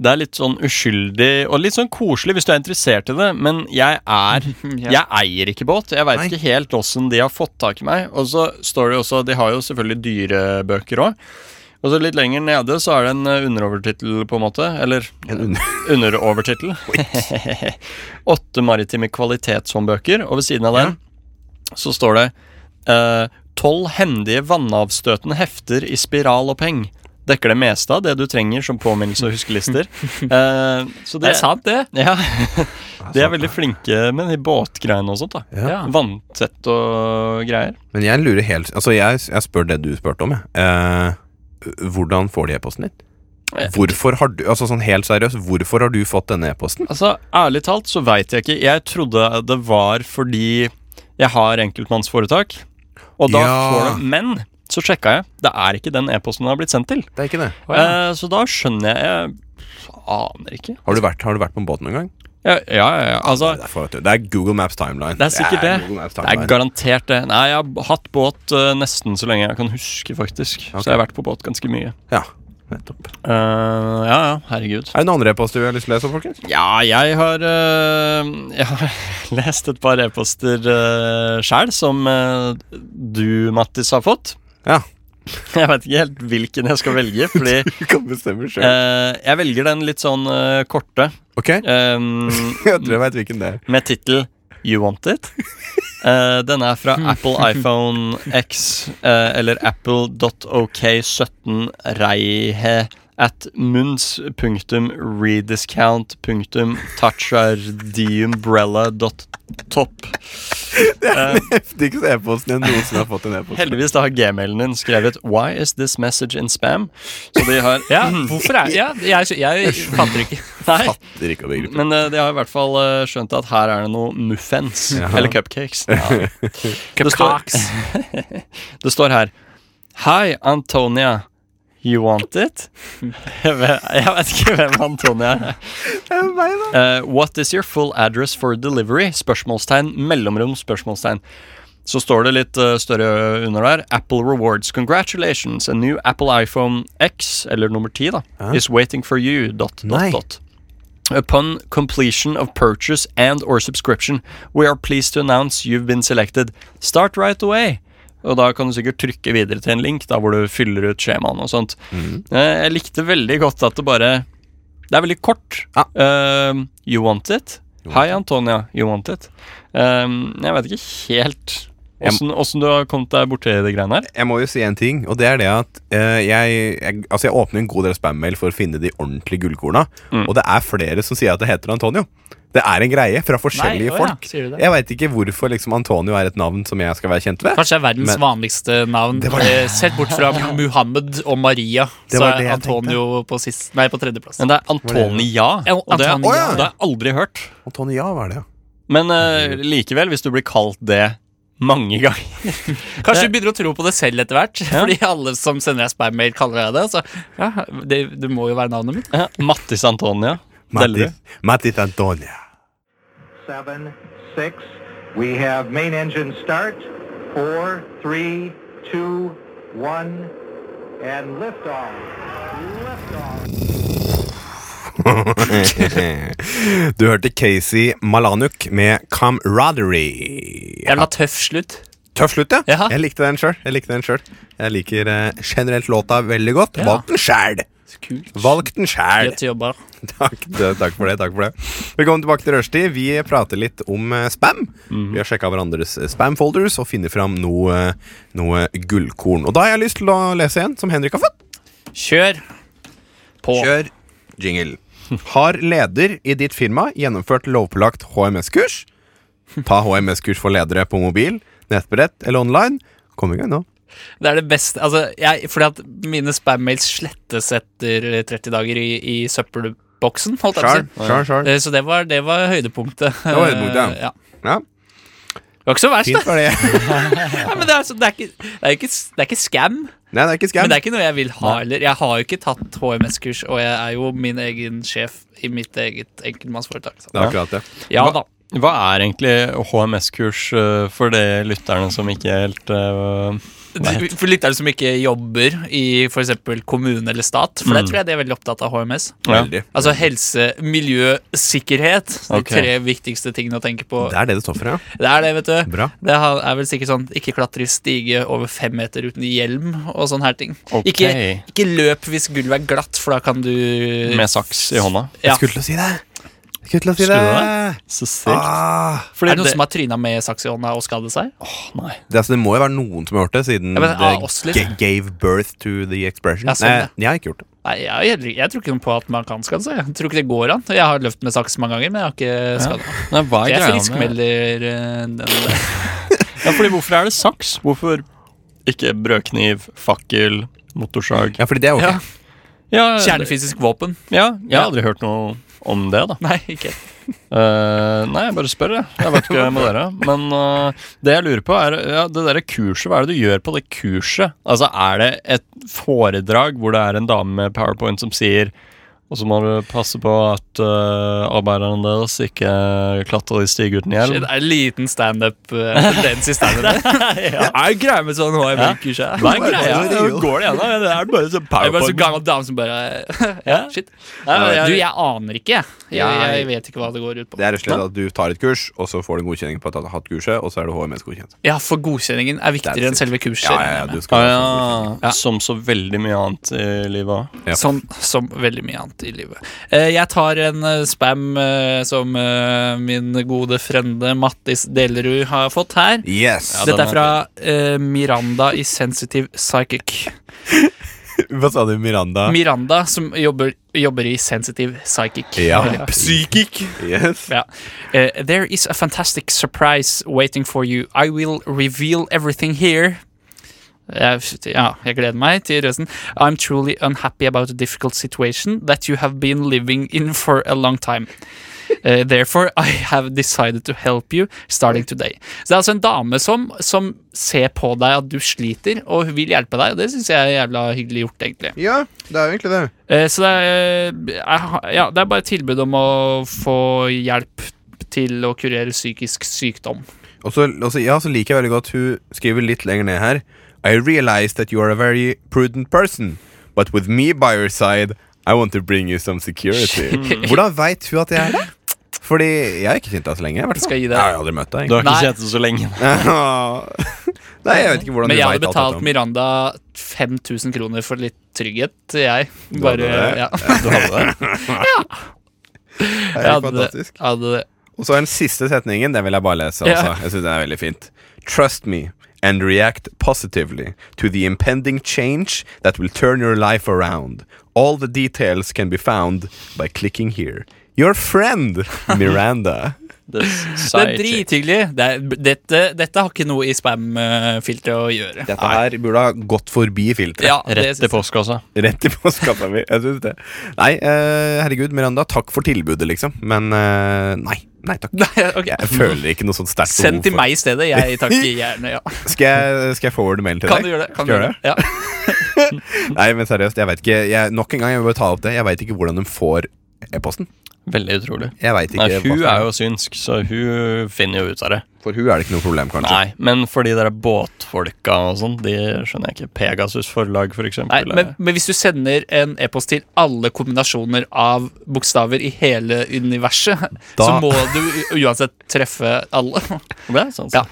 Speaker 4: Det er litt sånn uskyldig og litt sånn koselig hvis du er interessert i det, men jeg er Jeg eier ikke båt. Jeg veit
Speaker 2: Nei.
Speaker 4: ikke helt åssen de har fått tak i meg. Og så står det jo også De har jo selvfølgelig dyrebøker òg. Og så litt lenger nede så er det en eh, underovertittel, på en måte. Eller
Speaker 2: under-
Speaker 4: underovertittel. Åtte maritime kvalitetshåndbøker, og ved siden av den så står det eh, Tolv hendige vannavstøtende hefter i spiral og peng. Dekker det meste av det du trenger som påminnelse og huskelister. Eh, så
Speaker 3: Det er sant, det.
Speaker 4: Ja, De er veldig flinke med de båtgreiene og sånt. da
Speaker 3: Ja.
Speaker 4: Vanntett og greier.
Speaker 2: Men jeg lurer helt Altså, jeg, jeg spør det du spurte om, jeg. Eh, hvordan får de e-posten din? Hvorfor har du Altså sånn helt seriøst, hvorfor har du fått denne e-posten?
Speaker 4: Altså, Ærlig talt så veit jeg ikke. Jeg trodde det var fordi jeg har enkeltmannsforetak. Og da
Speaker 2: Ja.
Speaker 4: får du Men Så sjekka jeg. Det er ikke den e-posten den har blitt sendt til.
Speaker 2: Det er ikke det.
Speaker 4: Eh, så da skjønner jeg Jeg aner ikke.
Speaker 2: Har du vært, har du vært på en båt noen gang?
Speaker 4: Ja, ja, ja, ja. Altså,
Speaker 2: Det er, for- vet du, det er Google Maps timeline.
Speaker 4: Det er sikkert det.
Speaker 2: Google Maps
Speaker 4: Det er
Speaker 2: timeline.
Speaker 4: garantert det. Nei, jeg har hatt båt eh, nesten så lenge jeg kan huske, faktisk. Så jeg har vært på båt ganske mye.
Speaker 2: ja, nettopp.
Speaker 4: Eh, ja, ja,
Speaker 2: Er
Speaker 4: herregud.
Speaker 2: det noen andre e-poster vi har lyst til å lese, folkens?
Speaker 4: Ja, jeg har, eh, jeg har lest et par e-poster uh, sjæl som eh, du, Mattis, har fått.
Speaker 2: Ja.
Speaker 4: Jeg veit ikke helt hvilken jeg skal velge, fordi
Speaker 2: Du kan bestemme sjøl.
Speaker 4: eh, jeg velger den litt sånn eh, korte.
Speaker 2: Ok,
Speaker 4: eh,
Speaker 2: jeg tror jeg veit hvilken det er.
Speaker 4: med tittel You Want It. Eh, den er fra Apple iPhone X, eh, eller apple.ok17 reihe at munds.rediscount.touchardiumbrella.top.
Speaker 2: Heftigste e-posten jeg noensinne har fått en e-post.
Speaker 4: Heldigvis da har gmailen din skrevet 'Why is this message in spam?' Så de har
Speaker 3: Ja, hvorfor er Ja, jeg, jeg fatter ikke.
Speaker 4: Nei,
Speaker 2: Fatter ikke å begripe.
Speaker 4: men eh, de har i hvert fall eh, skjønt at her er det noe muffens. Eller cupcakes. Ja. Det står-
Speaker 3: Cupcakes.
Speaker 4: Det står her Hei, Antonia. You want it? Jeg vet jeg vet ikke hvem Antonia er. Eh, what is your full address for delivery? Spørsmålstegn, mellomrom, spørsmålstegn. Så står det litt eh, større under der. Apple rewards. Congratulations. A new Apple iPhone X, eller nummer 10, da, is waiting for you. Dot,
Speaker 2: Nei.
Speaker 4: dot, dot. Upon completion of purchase and or subscription, we are pleased to announce you've been selected. Start right away. Og da kan du sikkert trykke videre til en link da hvor du fyller ut skjemaene og sånt. Eh, Jeg likte veldig godt at det bare Det er veldig kort.
Speaker 2: Ja.
Speaker 4: Eh, you want it? Hi, Antonia. You want it? Eh, jeg vet ikke helt åssen åssen du har kommet deg borti de greiene her.
Speaker 2: Jeg må jo si en ting, og det er det at eh, jeg, jeg, altså jeg åpner en god del spam-mail for å finne de ordentlige gullkorna,
Speaker 4: Mm.
Speaker 2: og det er flere som sier at det heter Antonio. Det er en greie fra forskjellige
Speaker 3: Nei, å ja,
Speaker 2: folk.
Speaker 3: sier du det?
Speaker 2: Jeg veit ikke hvorfor liksom Antonio er et navn som jeg skal være kjent ved.
Speaker 3: Kanskje det er verdens
Speaker 2: Men-
Speaker 3: vanligste navn.
Speaker 2: Det var-
Speaker 3: Eh, Sett bort fra Muhammed og Maria,
Speaker 2: Det
Speaker 3: så
Speaker 2: var
Speaker 3: er
Speaker 2: det jeg
Speaker 3: Antonio på, sist, nei, på tredjeplass.
Speaker 4: Men det er Antonia.
Speaker 3: Ja,
Speaker 4: Og det,
Speaker 3: Antonia.
Speaker 4: Å ja, det har jeg aldri hørt.
Speaker 2: Antonio, ja, hva er det? ja?
Speaker 4: Men eh, likevel, hvis du blir kalt det mange ganger
Speaker 3: Kanskje du begynner å tro på det selv etter hvert. Fordi alle som sender deg spam-mail, kaller deg det. Så ja, det, det må jo være navnet mitt.
Speaker 4: Ja, Mattis Antonia. Dellerud.
Speaker 2: Mattis, Mattis Antonio.
Speaker 7: seven, six. We have main engine start. Four, three, two, one, and liftoff. Liftoff.
Speaker 2: Du hørte Casey Malanuk med Camaraderie.
Speaker 3: Jævla tøff slutt.
Speaker 2: Tøff slutt, ja.
Speaker 3: Ja.
Speaker 2: Jeg likte den sjøl. Jeg likte den selv. Jeg liker eh, generelt låta veldig godt.
Speaker 3: Ja.
Speaker 2: Valgt den sjæl!
Speaker 3: Kult.
Speaker 2: Valgt den sjæl!
Speaker 3: Greit jobba.
Speaker 2: Takk, det- takk for det. takk for det Velkommen tilbake til Rushdie. Vi prater litt om eh, spam.
Speaker 3: Mhm.
Speaker 2: Vi har sjekka hverandres eh, spam-folders og funnet fram noe, noe gullkorn. Og da har jeg lyst til å lese en som Henrik har fått.
Speaker 3: Kjør på.
Speaker 2: Kjør jingle. Har leder i ditt firma gjennomført lovpålagt HMS-kurs? Ta HMS-kurs for ledere på mobil, nettbrett eller online. Kom i gang nå.
Speaker 3: Det er det beste altså, jeg, Fordi at mine spam-mails slettes etter 30 dager i, i søppelboksen. Holdt jeg på å
Speaker 2: Sjarl,
Speaker 3: si.
Speaker 2: sjarl, sjarl.
Speaker 3: Eh, Så det var, det var høydepunktet. Det
Speaker 2: var høydepunktet, ja.
Speaker 3: ja.
Speaker 2: Ja,
Speaker 3: Det var ikke så verst,
Speaker 2: fint
Speaker 3: det.
Speaker 2: var det.
Speaker 3: Nei, men det, er, altså- det, er ikke, det, er ikke, s- det er ikke scam,
Speaker 2: Nei, det er ikke
Speaker 3: men
Speaker 2: skam.
Speaker 3: det er ikke noe jeg vil ha heller. Jeg har jo ikke tatt HMS-kurs, og jeg er jo min egen sjef i mitt eget enkeltmannsforetak.
Speaker 2: Det
Speaker 3: Så.
Speaker 2: er akkurat det.
Speaker 3: Ja da.
Speaker 4: Hva er egentlig HMS-kurs eh, for de lytterne som ikke helt eh,
Speaker 3: For lyttere som ikke jobber i f.eks. kommune eller stat, for
Speaker 2: Mm.
Speaker 3: det tror jeg de er veldig opptatt av HMS.
Speaker 4: ja.
Speaker 2: Veldig.
Speaker 3: Altså helse, miljø, sikkerhet. De
Speaker 4: Ok.
Speaker 3: tre viktigste tingene å tenke på.
Speaker 2: Det er det det står for, ja.
Speaker 3: Det er det, vet du.
Speaker 2: Bra.
Speaker 3: Det har- er vel sikkert sånn ikke klatre i stige over fem meter uten hjelm og sånne her ting.
Speaker 4: Ok.
Speaker 3: Ikke, ikke løp hvis gulvet er glatt, for da kan du
Speaker 4: Med saks i hånda.
Speaker 3: Ja.
Speaker 2: Jeg skulle til å si det. Jeg skulle til å si
Speaker 4: Skulle
Speaker 2: det.
Speaker 4: du det? Så sykt.
Speaker 2: Ah,
Speaker 3: Er
Speaker 4: Fordi
Speaker 3: det noen
Speaker 4: det-
Speaker 3: som har tryna med saks i hånda og skadet seg?
Speaker 4: Nei.
Speaker 2: det, altså, det må jo være noen som har gjort det, siden
Speaker 3: Ja, men, ah, oss
Speaker 2: det
Speaker 3: litt.
Speaker 2: ga- gave birth to the expression.
Speaker 3: Ja, sånn, ja.
Speaker 2: Nei, jeg har ikke gjort det.
Speaker 3: Nei, jeg, jeg, jeg tror ikke noe på at man kan skade seg. Jeg tror ikke det går an. Jeg har løpt med saks mange ganger, men jeg har ikke skada meg.
Speaker 4: Nei, hva
Speaker 3: Jeg er
Speaker 4: er greia med
Speaker 3: friskmelder eh, den-
Speaker 4: ja, fordi Hvorfor er det saks? Hvorfor ikke brødkniv, fakkel, motorsag?
Speaker 2: Ja, fordi det er ok.
Speaker 3: Ja.
Speaker 4: Ja,
Speaker 3: Kjernefysisk våpen.
Speaker 4: ja, jeg har aldri hørt noe om det, da.
Speaker 3: Nei, ikke
Speaker 4: Eh, nei, jeg bare spør, jeg. Jeg vet ikke med dere. Men eh, det jeg lurer på, er ja, det derre kurset. Hva er det du gjør på det kurset? Altså, er det et foredrag hvor det er en dame med powerpoint som sier og så må du passe på at eh, arbeiderne deres ikke klatrer i stiger uten
Speaker 3: Shit,
Speaker 4: hjelm.
Speaker 3: det er en liten eh, standup-tendens i standupen. ja. Er det greia med sånn HM-kurset?
Speaker 4: Hva er greia? Hvor går det gjennom? Det er bare sånn
Speaker 3: Det er bare så
Speaker 4: powerpoint.
Speaker 3: gammel dame som bare ja, Shit.
Speaker 4: jeg-
Speaker 3: du, jeg aner ikke. jeg. Jeg, jeg vet ikke hva det går ut på.
Speaker 2: Det er rett og slett at du tar et kurs, og så får du en godkjenning på at du har hatt kurset, og så er du HMS godkjent.
Speaker 3: Ja, for godkjenningen er
Speaker 2: That's
Speaker 3: viktigere
Speaker 2: it.
Speaker 3: enn selve kurset.
Speaker 2: Ja, ja, ja, du skal
Speaker 4: Ah,
Speaker 3: Ja.
Speaker 4: ja. Som så veldig mye annet i livet òg.
Speaker 2: Ja.
Speaker 3: Sånn som veldig mye annet i livet. Eh, Jeg tar en eh, spam eh, som eh, min gode frende Mattis Delerud har fått her.
Speaker 2: Yes!
Speaker 4: Ja,
Speaker 3: Dette
Speaker 4: den
Speaker 3: er
Speaker 4: er
Speaker 3: fra eh, Miranda i Sensitive Psychic.
Speaker 2: Hva sa du, Miranda?
Speaker 3: Miranda som jobber, jobber i Sensitive Psychic.
Speaker 2: Ja.
Speaker 3: Psykic.
Speaker 2: Yes.
Speaker 3: Ja. Eh, there is a fantastic surprise waiting for you. I will reveal everything here. Jeg, ja, jeg gleder meg til resten. I'm truly unhappy about a difficult situation that you have been living in for a long time. Eh, therefore, I have decided to help you starting today. Så det er altså en dame som, som ser på deg at du sliter, og hun vil hjelpe deg. Og det syns jeg er jævla hyggelig gjort, egentlig.
Speaker 2: Ja, det er jo egentlig det.
Speaker 3: Eh, Så det er, eh, jeg har- ja, det er bare et tilbud om å få hjelp til å kurere psykisk sykdom.
Speaker 2: Og så, og så- ja, så liker jeg veldig godt hun skriver litt lenger ned her. I realize that you are a very prudent person, but with me by your side, I want to bring you some security. Hvordan veit hun at jeg er det? Fordi jeg har ikke kjent deg så lenge. Jeg,
Speaker 3: Skal jeg gi deg-
Speaker 2: jeg har aldri møtt deg.
Speaker 4: Du har ikke
Speaker 3: Nei.
Speaker 4: sett det så lenge.
Speaker 2: egentlig. Nei, jeg vet ikke hvordan
Speaker 3: Men
Speaker 2: hun
Speaker 3: jeg hadde
Speaker 2: vet alt dette
Speaker 3: betalt
Speaker 2: om.
Speaker 3: Miranda 5000 kroner for litt trygghet, jeg. Bare,
Speaker 2: det?
Speaker 3: ja.
Speaker 4: Du hadde det.
Speaker 2: Det
Speaker 3: Jeg
Speaker 2: er
Speaker 3: hadde det.
Speaker 2: fantastisk.
Speaker 3: Hadde det.
Speaker 2: Og så den siste setningen, den vil jeg bare lese.
Speaker 3: Ja.
Speaker 2: Altså. Jeg synes den er veldig fint. Trust me and react positively to the impending change that will turn your life around. All the details can be found by clicking here. Your friend, Miranda.
Speaker 4: Det
Speaker 3: Det er drithyggelig. Det er- Dette, dette har ikke noe i spam-filteret å gjøre.
Speaker 2: Dette her burde ha gått forbi filteret.
Speaker 3: Ja, det
Speaker 4: Rett
Speaker 3: synes
Speaker 4: altså.
Speaker 3: jeg.
Speaker 4: til postkassa.
Speaker 2: Rett i postkassa mi. Jeg synes det. Nei, eh, herregud, Miranda, takk for tilbudet, liksom. Men eh, nei. Nei takk.
Speaker 3: ok.
Speaker 2: Jeg føler ikke noe sånt sterkt
Speaker 3: Send til
Speaker 2: for-
Speaker 3: meg i stedet. Jeg takker gjerne ja.
Speaker 2: Skal jeg, skal jeg forwarde mailen til
Speaker 3: Kan
Speaker 2: deg?
Speaker 3: du gjøre det? Kan du
Speaker 2: Skal jeg gjøre
Speaker 3: gjøre det? Ja.
Speaker 2: Nei, men seriøst, jeg vet ikke jeg, Nok en gang, jeg vil bare ta opp det Jeg vet ikke hvordan de får e-posten
Speaker 4: Veldig utrolig.
Speaker 2: Jeg vet ikke
Speaker 4: Nei, hun
Speaker 2: posten.
Speaker 4: er jo synsk, så hun finner jo ut av det.
Speaker 2: For hun er det ikke noe problem, kanskje
Speaker 4: Nei, men for de der båtfolka og sånn, de skjønner jeg ikke. Pegasus forlag, for
Speaker 3: Nei,
Speaker 4: eksempel.
Speaker 3: men, men hvis du sender en e-post til alle kombinasjoner av bokstaver i hele universet, så
Speaker 2: Da-
Speaker 3: må du u- uansett treffe alle.
Speaker 4: det er sant.
Speaker 3: Ja.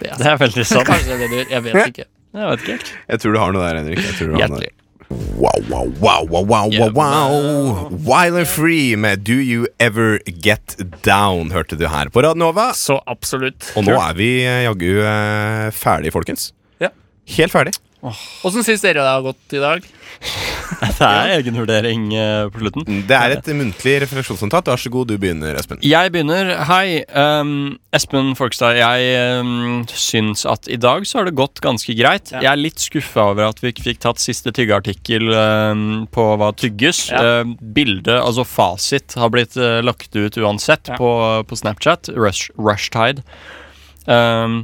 Speaker 4: Det er veldig sant.
Speaker 3: Kanskje det er det du gjør. Jeg vet ikke.
Speaker 4: Jeg vet ikke helt.
Speaker 2: Jeg tror du har noe der, Henrik Jeg tror du har noe
Speaker 3: Hjertelig.
Speaker 2: der. Wow, wow, wow, wow, wow, wow, wow Wild and free med Do You Ever Get Down Hørte du her på Radnova
Speaker 3: Så absolutt.
Speaker 2: Og nå er vi eh, jaggu eh, ferdig, folkens
Speaker 3: Ja.
Speaker 2: Helt ferdig
Speaker 3: Åssen syns dere det har gått i dag?
Speaker 4: Det er egenvurdering eh, på slutten.
Speaker 2: Det er et muntlig refleksjonsnotat Vær så god, du begynner, Espen
Speaker 4: Jeg begynner. Hei, ehm, Espen Folkstad. Jeg um, syns at i dag så har det gått ganske greit. Jeg er litt skuffa over at vi ikke fikk tatt siste tyggeartikkel ehm, på hva tygges.
Speaker 3: Ja.
Speaker 4: Ehm, bildet, altså fasit, har blitt eh, lagt ut uansett
Speaker 3: Ja.
Speaker 4: på, på Snapchat. Rush, rushtide. Ehm,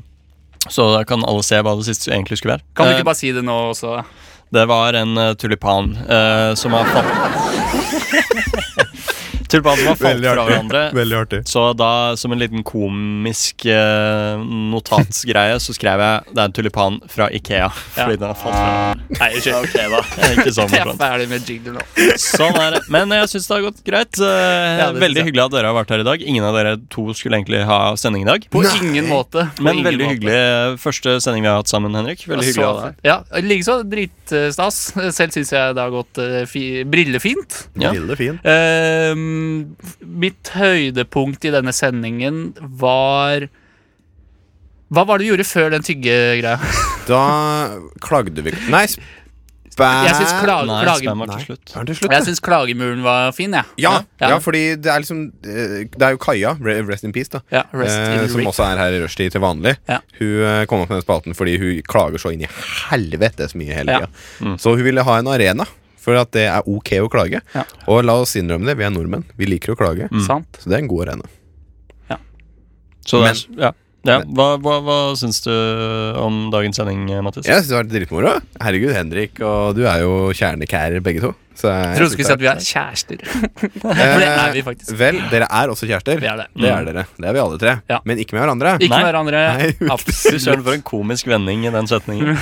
Speaker 4: så da kan alle se hva det siste egentlig skulle være.
Speaker 3: Kan du
Speaker 4: Eh,
Speaker 3: ikke bare si det nå også?
Speaker 4: det var en eh, tulipan eh, som har falt Tulipanen som har falt
Speaker 2: Veldig
Speaker 4: fra
Speaker 2: artig.
Speaker 4: hverandre.
Speaker 2: Veldig artig
Speaker 4: Så da, som en liten komisk eh, notatsgreie, så skrev jeg det er en tulipan fra Ikea. Fordi den har falt fra.
Speaker 3: Nei, unnskyld.
Speaker 4: Ok, da. Ikke sånn,
Speaker 3: Jeg er
Speaker 4: sånn.
Speaker 3: ferdig med jigler nå.
Speaker 4: sånn er det. Men jeg syns det har gått greit. Eh,
Speaker 3: Ja, det synes
Speaker 4: veldig
Speaker 3: jeg.
Speaker 4: hyggelig at dere har vært her i dag. Ingen av dere to skulle egentlig ha sending i dag.
Speaker 3: På ingen måte. På
Speaker 4: Men
Speaker 3: ingen
Speaker 4: veldig
Speaker 3: måte. Altså,
Speaker 4: hyggelig eh, første sending vi har hatt sammen, Henrik. Veldig hyggelig å ha deg her.
Speaker 3: Ja, Likeså. Dritstas. Selv syns jeg det har gått eh, fi brillefint.
Speaker 4: Ja.
Speaker 2: Veldig fint
Speaker 3: Ehm, mitt høydepunkt i denne sendingen var Hva var det du gjorde før den tyggegreia?
Speaker 2: Da klagde vi Nei, spæ...
Speaker 3: Jeg syns klage,
Speaker 4: Nei,
Speaker 3: klage,
Speaker 4: spam var til slutt.
Speaker 2: Er det slutt,
Speaker 3: jeg
Speaker 2: da?
Speaker 3: syns klagemuren var fin, jeg.
Speaker 2: Ja,
Speaker 3: ja.
Speaker 2: ja. fordi det er liksom eh, Det er jo Kaja, re- Rest in Peace, da.
Speaker 3: Ja, rest in
Speaker 2: eh, som
Speaker 3: rip.
Speaker 2: også er her i rushtid til vanlig.
Speaker 3: Ja.
Speaker 2: Hun eh, kom opp med den spalten fordi hun klager så inn i helvetes mye hele
Speaker 3: Ja. Mm.
Speaker 2: tida. Så hun ville ha en arena For at det er ok å klage.
Speaker 3: Ja. Mm.
Speaker 2: Og la oss innrømme det, vi er nordmenn. Vi liker å klage.
Speaker 3: Sant?
Speaker 2: Så det er en god arena.
Speaker 4: Så det er,
Speaker 2: Men-
Speaker 4: ja. Ja, hva, hva, hva syns du om dagens sending, Mattis?
Speaker 2: Jeg synes det har vært dritmoro. Herregud, Henrik, og du er jo kjernekærer begge to. Så jeg
Speaker 3: Jeg trodde du skulle si at vi er kjærester. For det er vi faktisk.
Speaker 2: Eh, Vel, dere er også kjærester.
Speaker 3: Vi er det.
Speaker 2: er dere. Det er vi alle tre.
Speaker 3: Ja.
Speaker 2: Men ikke med hverandre.
Speaker 3: Ikke
Speaker 4: Nei.
Speaker 3: hverandre.
Speaker 2: Nei, vet du.
Speaker 4: Fy
Speaker 3: Absolutt.
Speaker 4: søren, for en komisk vending i den setningen.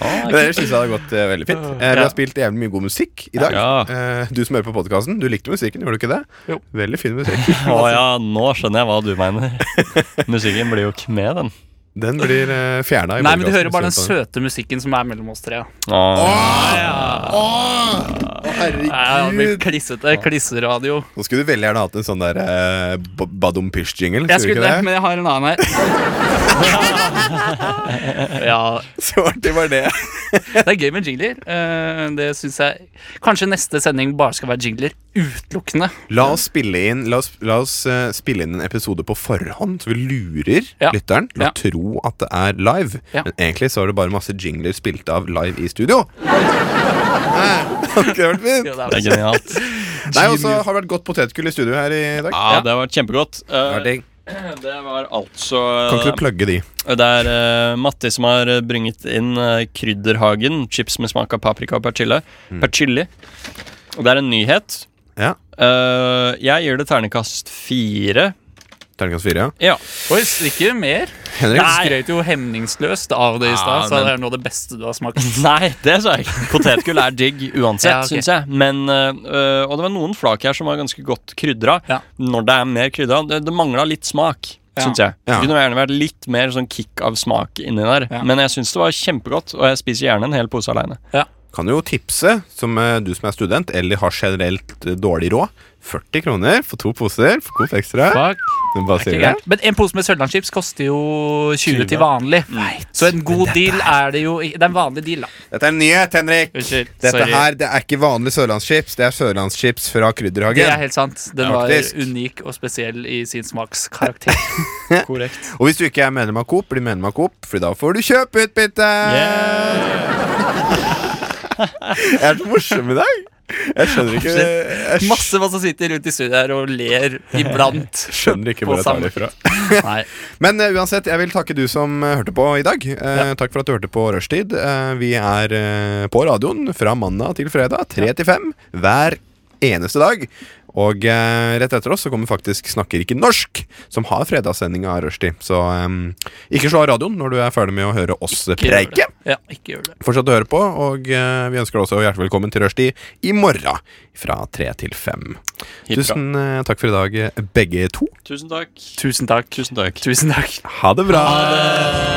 Speaker 4: Ah,
Speaker 2: Men Dere synes jeg det har gått eh, veldig fint. Eh, Vi
Speaker 3: Ja.
Speaker 2: har spilt jævlig mye god musikk i dag.
Speaker 4: Ja.
Speaker 2: Eh, du som hører på podkasten, du likte musikken, gjorde du ikke det?
Speaker 3: Jo.
Speaker 2: Veldig fin musikk.
Speaker 4: Å ja, nå skjønner jeg hva du mener. Musikken blir jo ikke med, den.
Speaker 2: Den blir uh, fjerna.
Speaker 3: Nei, men du hører bare den søte musikken som er mellom oss tre.
Speaker 4: Ah,
Speaker 3: Nei, det blir
Speaker 2: Herregud!
Speaker 3: klissete klisseradio.
Speaker 2: Nå skulle du veldig gjerne hatt en sånn der eh, ba- Badum Pish-jingle.
Speaker 3: Jeg
Speaker 2: skulle du
Speaker 3: skulle det,
Speaker 2: ikke
Speaker 3: men jeg har en annen her. ja,
Speaker 2: Så artig var det.
Speaker 3: Det er gøy med jingler. Eh, Det synes jeg Kanskje neste sending bare skal være jingler utelukkende.
Speaker 2: La oss spille inn La oss, la oss eh, spille inn en episode på forhånd, så vi lurer
Speaker 3: Ja.
Speaker 2: lytteren til
Speaker 3: Ja.
Speaker 2: å tro at det er live.
Speaker 3: Ja.
Speaker 2: Men egentlig så er det bare masse jingler spilt av live i studio. Hadde ikke det vært fint?
Speaker 4: det er genialt.
Speaker 2: Nei, og så har det vært godt potetgull i studio her i dag.
Speaker 4: Ah, det har vært kjempegodt.
Speaker 2: Det
Speaker 4: Eh,
Speaker 2: var digg.
Speaker 4: det var altså
Speaker 2: Kan ikke du plugge de?
Speaker 4: Og Det er uh, Matti som har eh, bringet inn eh, Krydderhagen. Chips med smak av paprika og persille.
Speaker 2: Mm.
Speaker 4: Persille. Og det er en nyhet.
Speaker 2: Ja.
Speaker 4: Eh, jeg gir det ternekast fire.
Speaker 2: Terningkast fire, ja.
Speaker 4: Ja.
Speaker 3: Oi, ikke mer? Du
Speaker 2: Henrik?
Speaker 3: skrøt jo hemningsløst av det i stad,
Speaker 4: Ja,
Speaker 3: så
Speaker 4: men-
Speaker 3: det er noe av det beste du har smakt.
Speaker 4: Nei, det sa jeg ikke. Potetgull er digg uansett,
Speaker 3: Ja, ok.
Speaker 4: syns jeg. Men, eh, og det var noen flak her som var ganske godt krydra.
Speaker 3: Ja.
Speaker 4: Når det er mer krydra. Det, det mangla litt smak,
Speaker 3: Ja.
Speaker 4: syns jeg.
Speaker 2: Ja.
Speaker 4: Det kunne gjerne vært litt mer sånn kick av smak inni der.
Speaker 3: Ja.
Speaker 4: Men jeg syns det var kjempegodt, og jeg spiser gjerne en hel pose aleine.
Speaker 2: Kan jo tipse, som eh, du som er student, eller har generelt eh, dårlig råd. 40 kroner for to poser for Coop Extra.
Speaker 3: Fuck.
Speaker 2: Men bare sier det.
Speaker 3: Men en pose med sørlandschips koster jo 20 til vanlig. Så en god deal er det jo i- Det er en vanlig deal, da.
Speaker 2: Dette er en nyhet, Henrik!
Speaker 3: Unnskyld.
Speaker 2: Dette
Speaker 3: Sorry.
Speaker 2: her, det er ikke vanlig sørlandschips, det er sørlandschips fra
Speaker 3: Det er
Speaker 2: Krydderhagen.
Speaker 3: helt sant. Den
Speaker 2: Ja,
Speaker 3: var
Speaker 2: faktisk.
Speaker 3: unik og spesiell i sin smakskarakter.
Speaker 4: Korrekt.
Speaker 2: Og hvis du ikke er medlem av Coop, bli medlem av Coop, for da får du kjøpeutbytte! Jeg er så morsom i dag! Jeg skjønner ikke Jeg
Speaker 3: Masse hva som sitter rundt i studio her og ler iblant.
Speaker 2: skjønner ikke hvor jeg tar det fra.
Speaker 3: Nei.
Speaker 2: Men eh, uansett, jeg vil takke du som eh, hørte på i dag. Eh, Takk for at du hørte på Rushtid. Eh, vi er eh, på radioen fra mandag til fredag, tre til fem, hver eneste dag. Og eh, rett etter oss så kommer faktisk Snakker ikke norsk, som har fredagssending av Rushtid. Så eh, ikke slå av radioen når du er ferdig med å høre oss
Speaker 3: Ikke gjør det.
Speaker 2: preike.
Speaker 3: Ja, ikke gjør det.
Speaker 2: Fortsett å høre på, og eh, vi ønsker deg også hjertelig velkommen til Rushtid i morgen fra tre til fem. Tusen eh, takk for i dag, eh, begge to.
Speaker 4: Tusen takk.
Speaker 3: Tusen takk.
Speaker 4: Tusen takk.
Speaker 3: Tusen takk.
Speaker 2: Ha det bra!
Speaker 3: Ha det.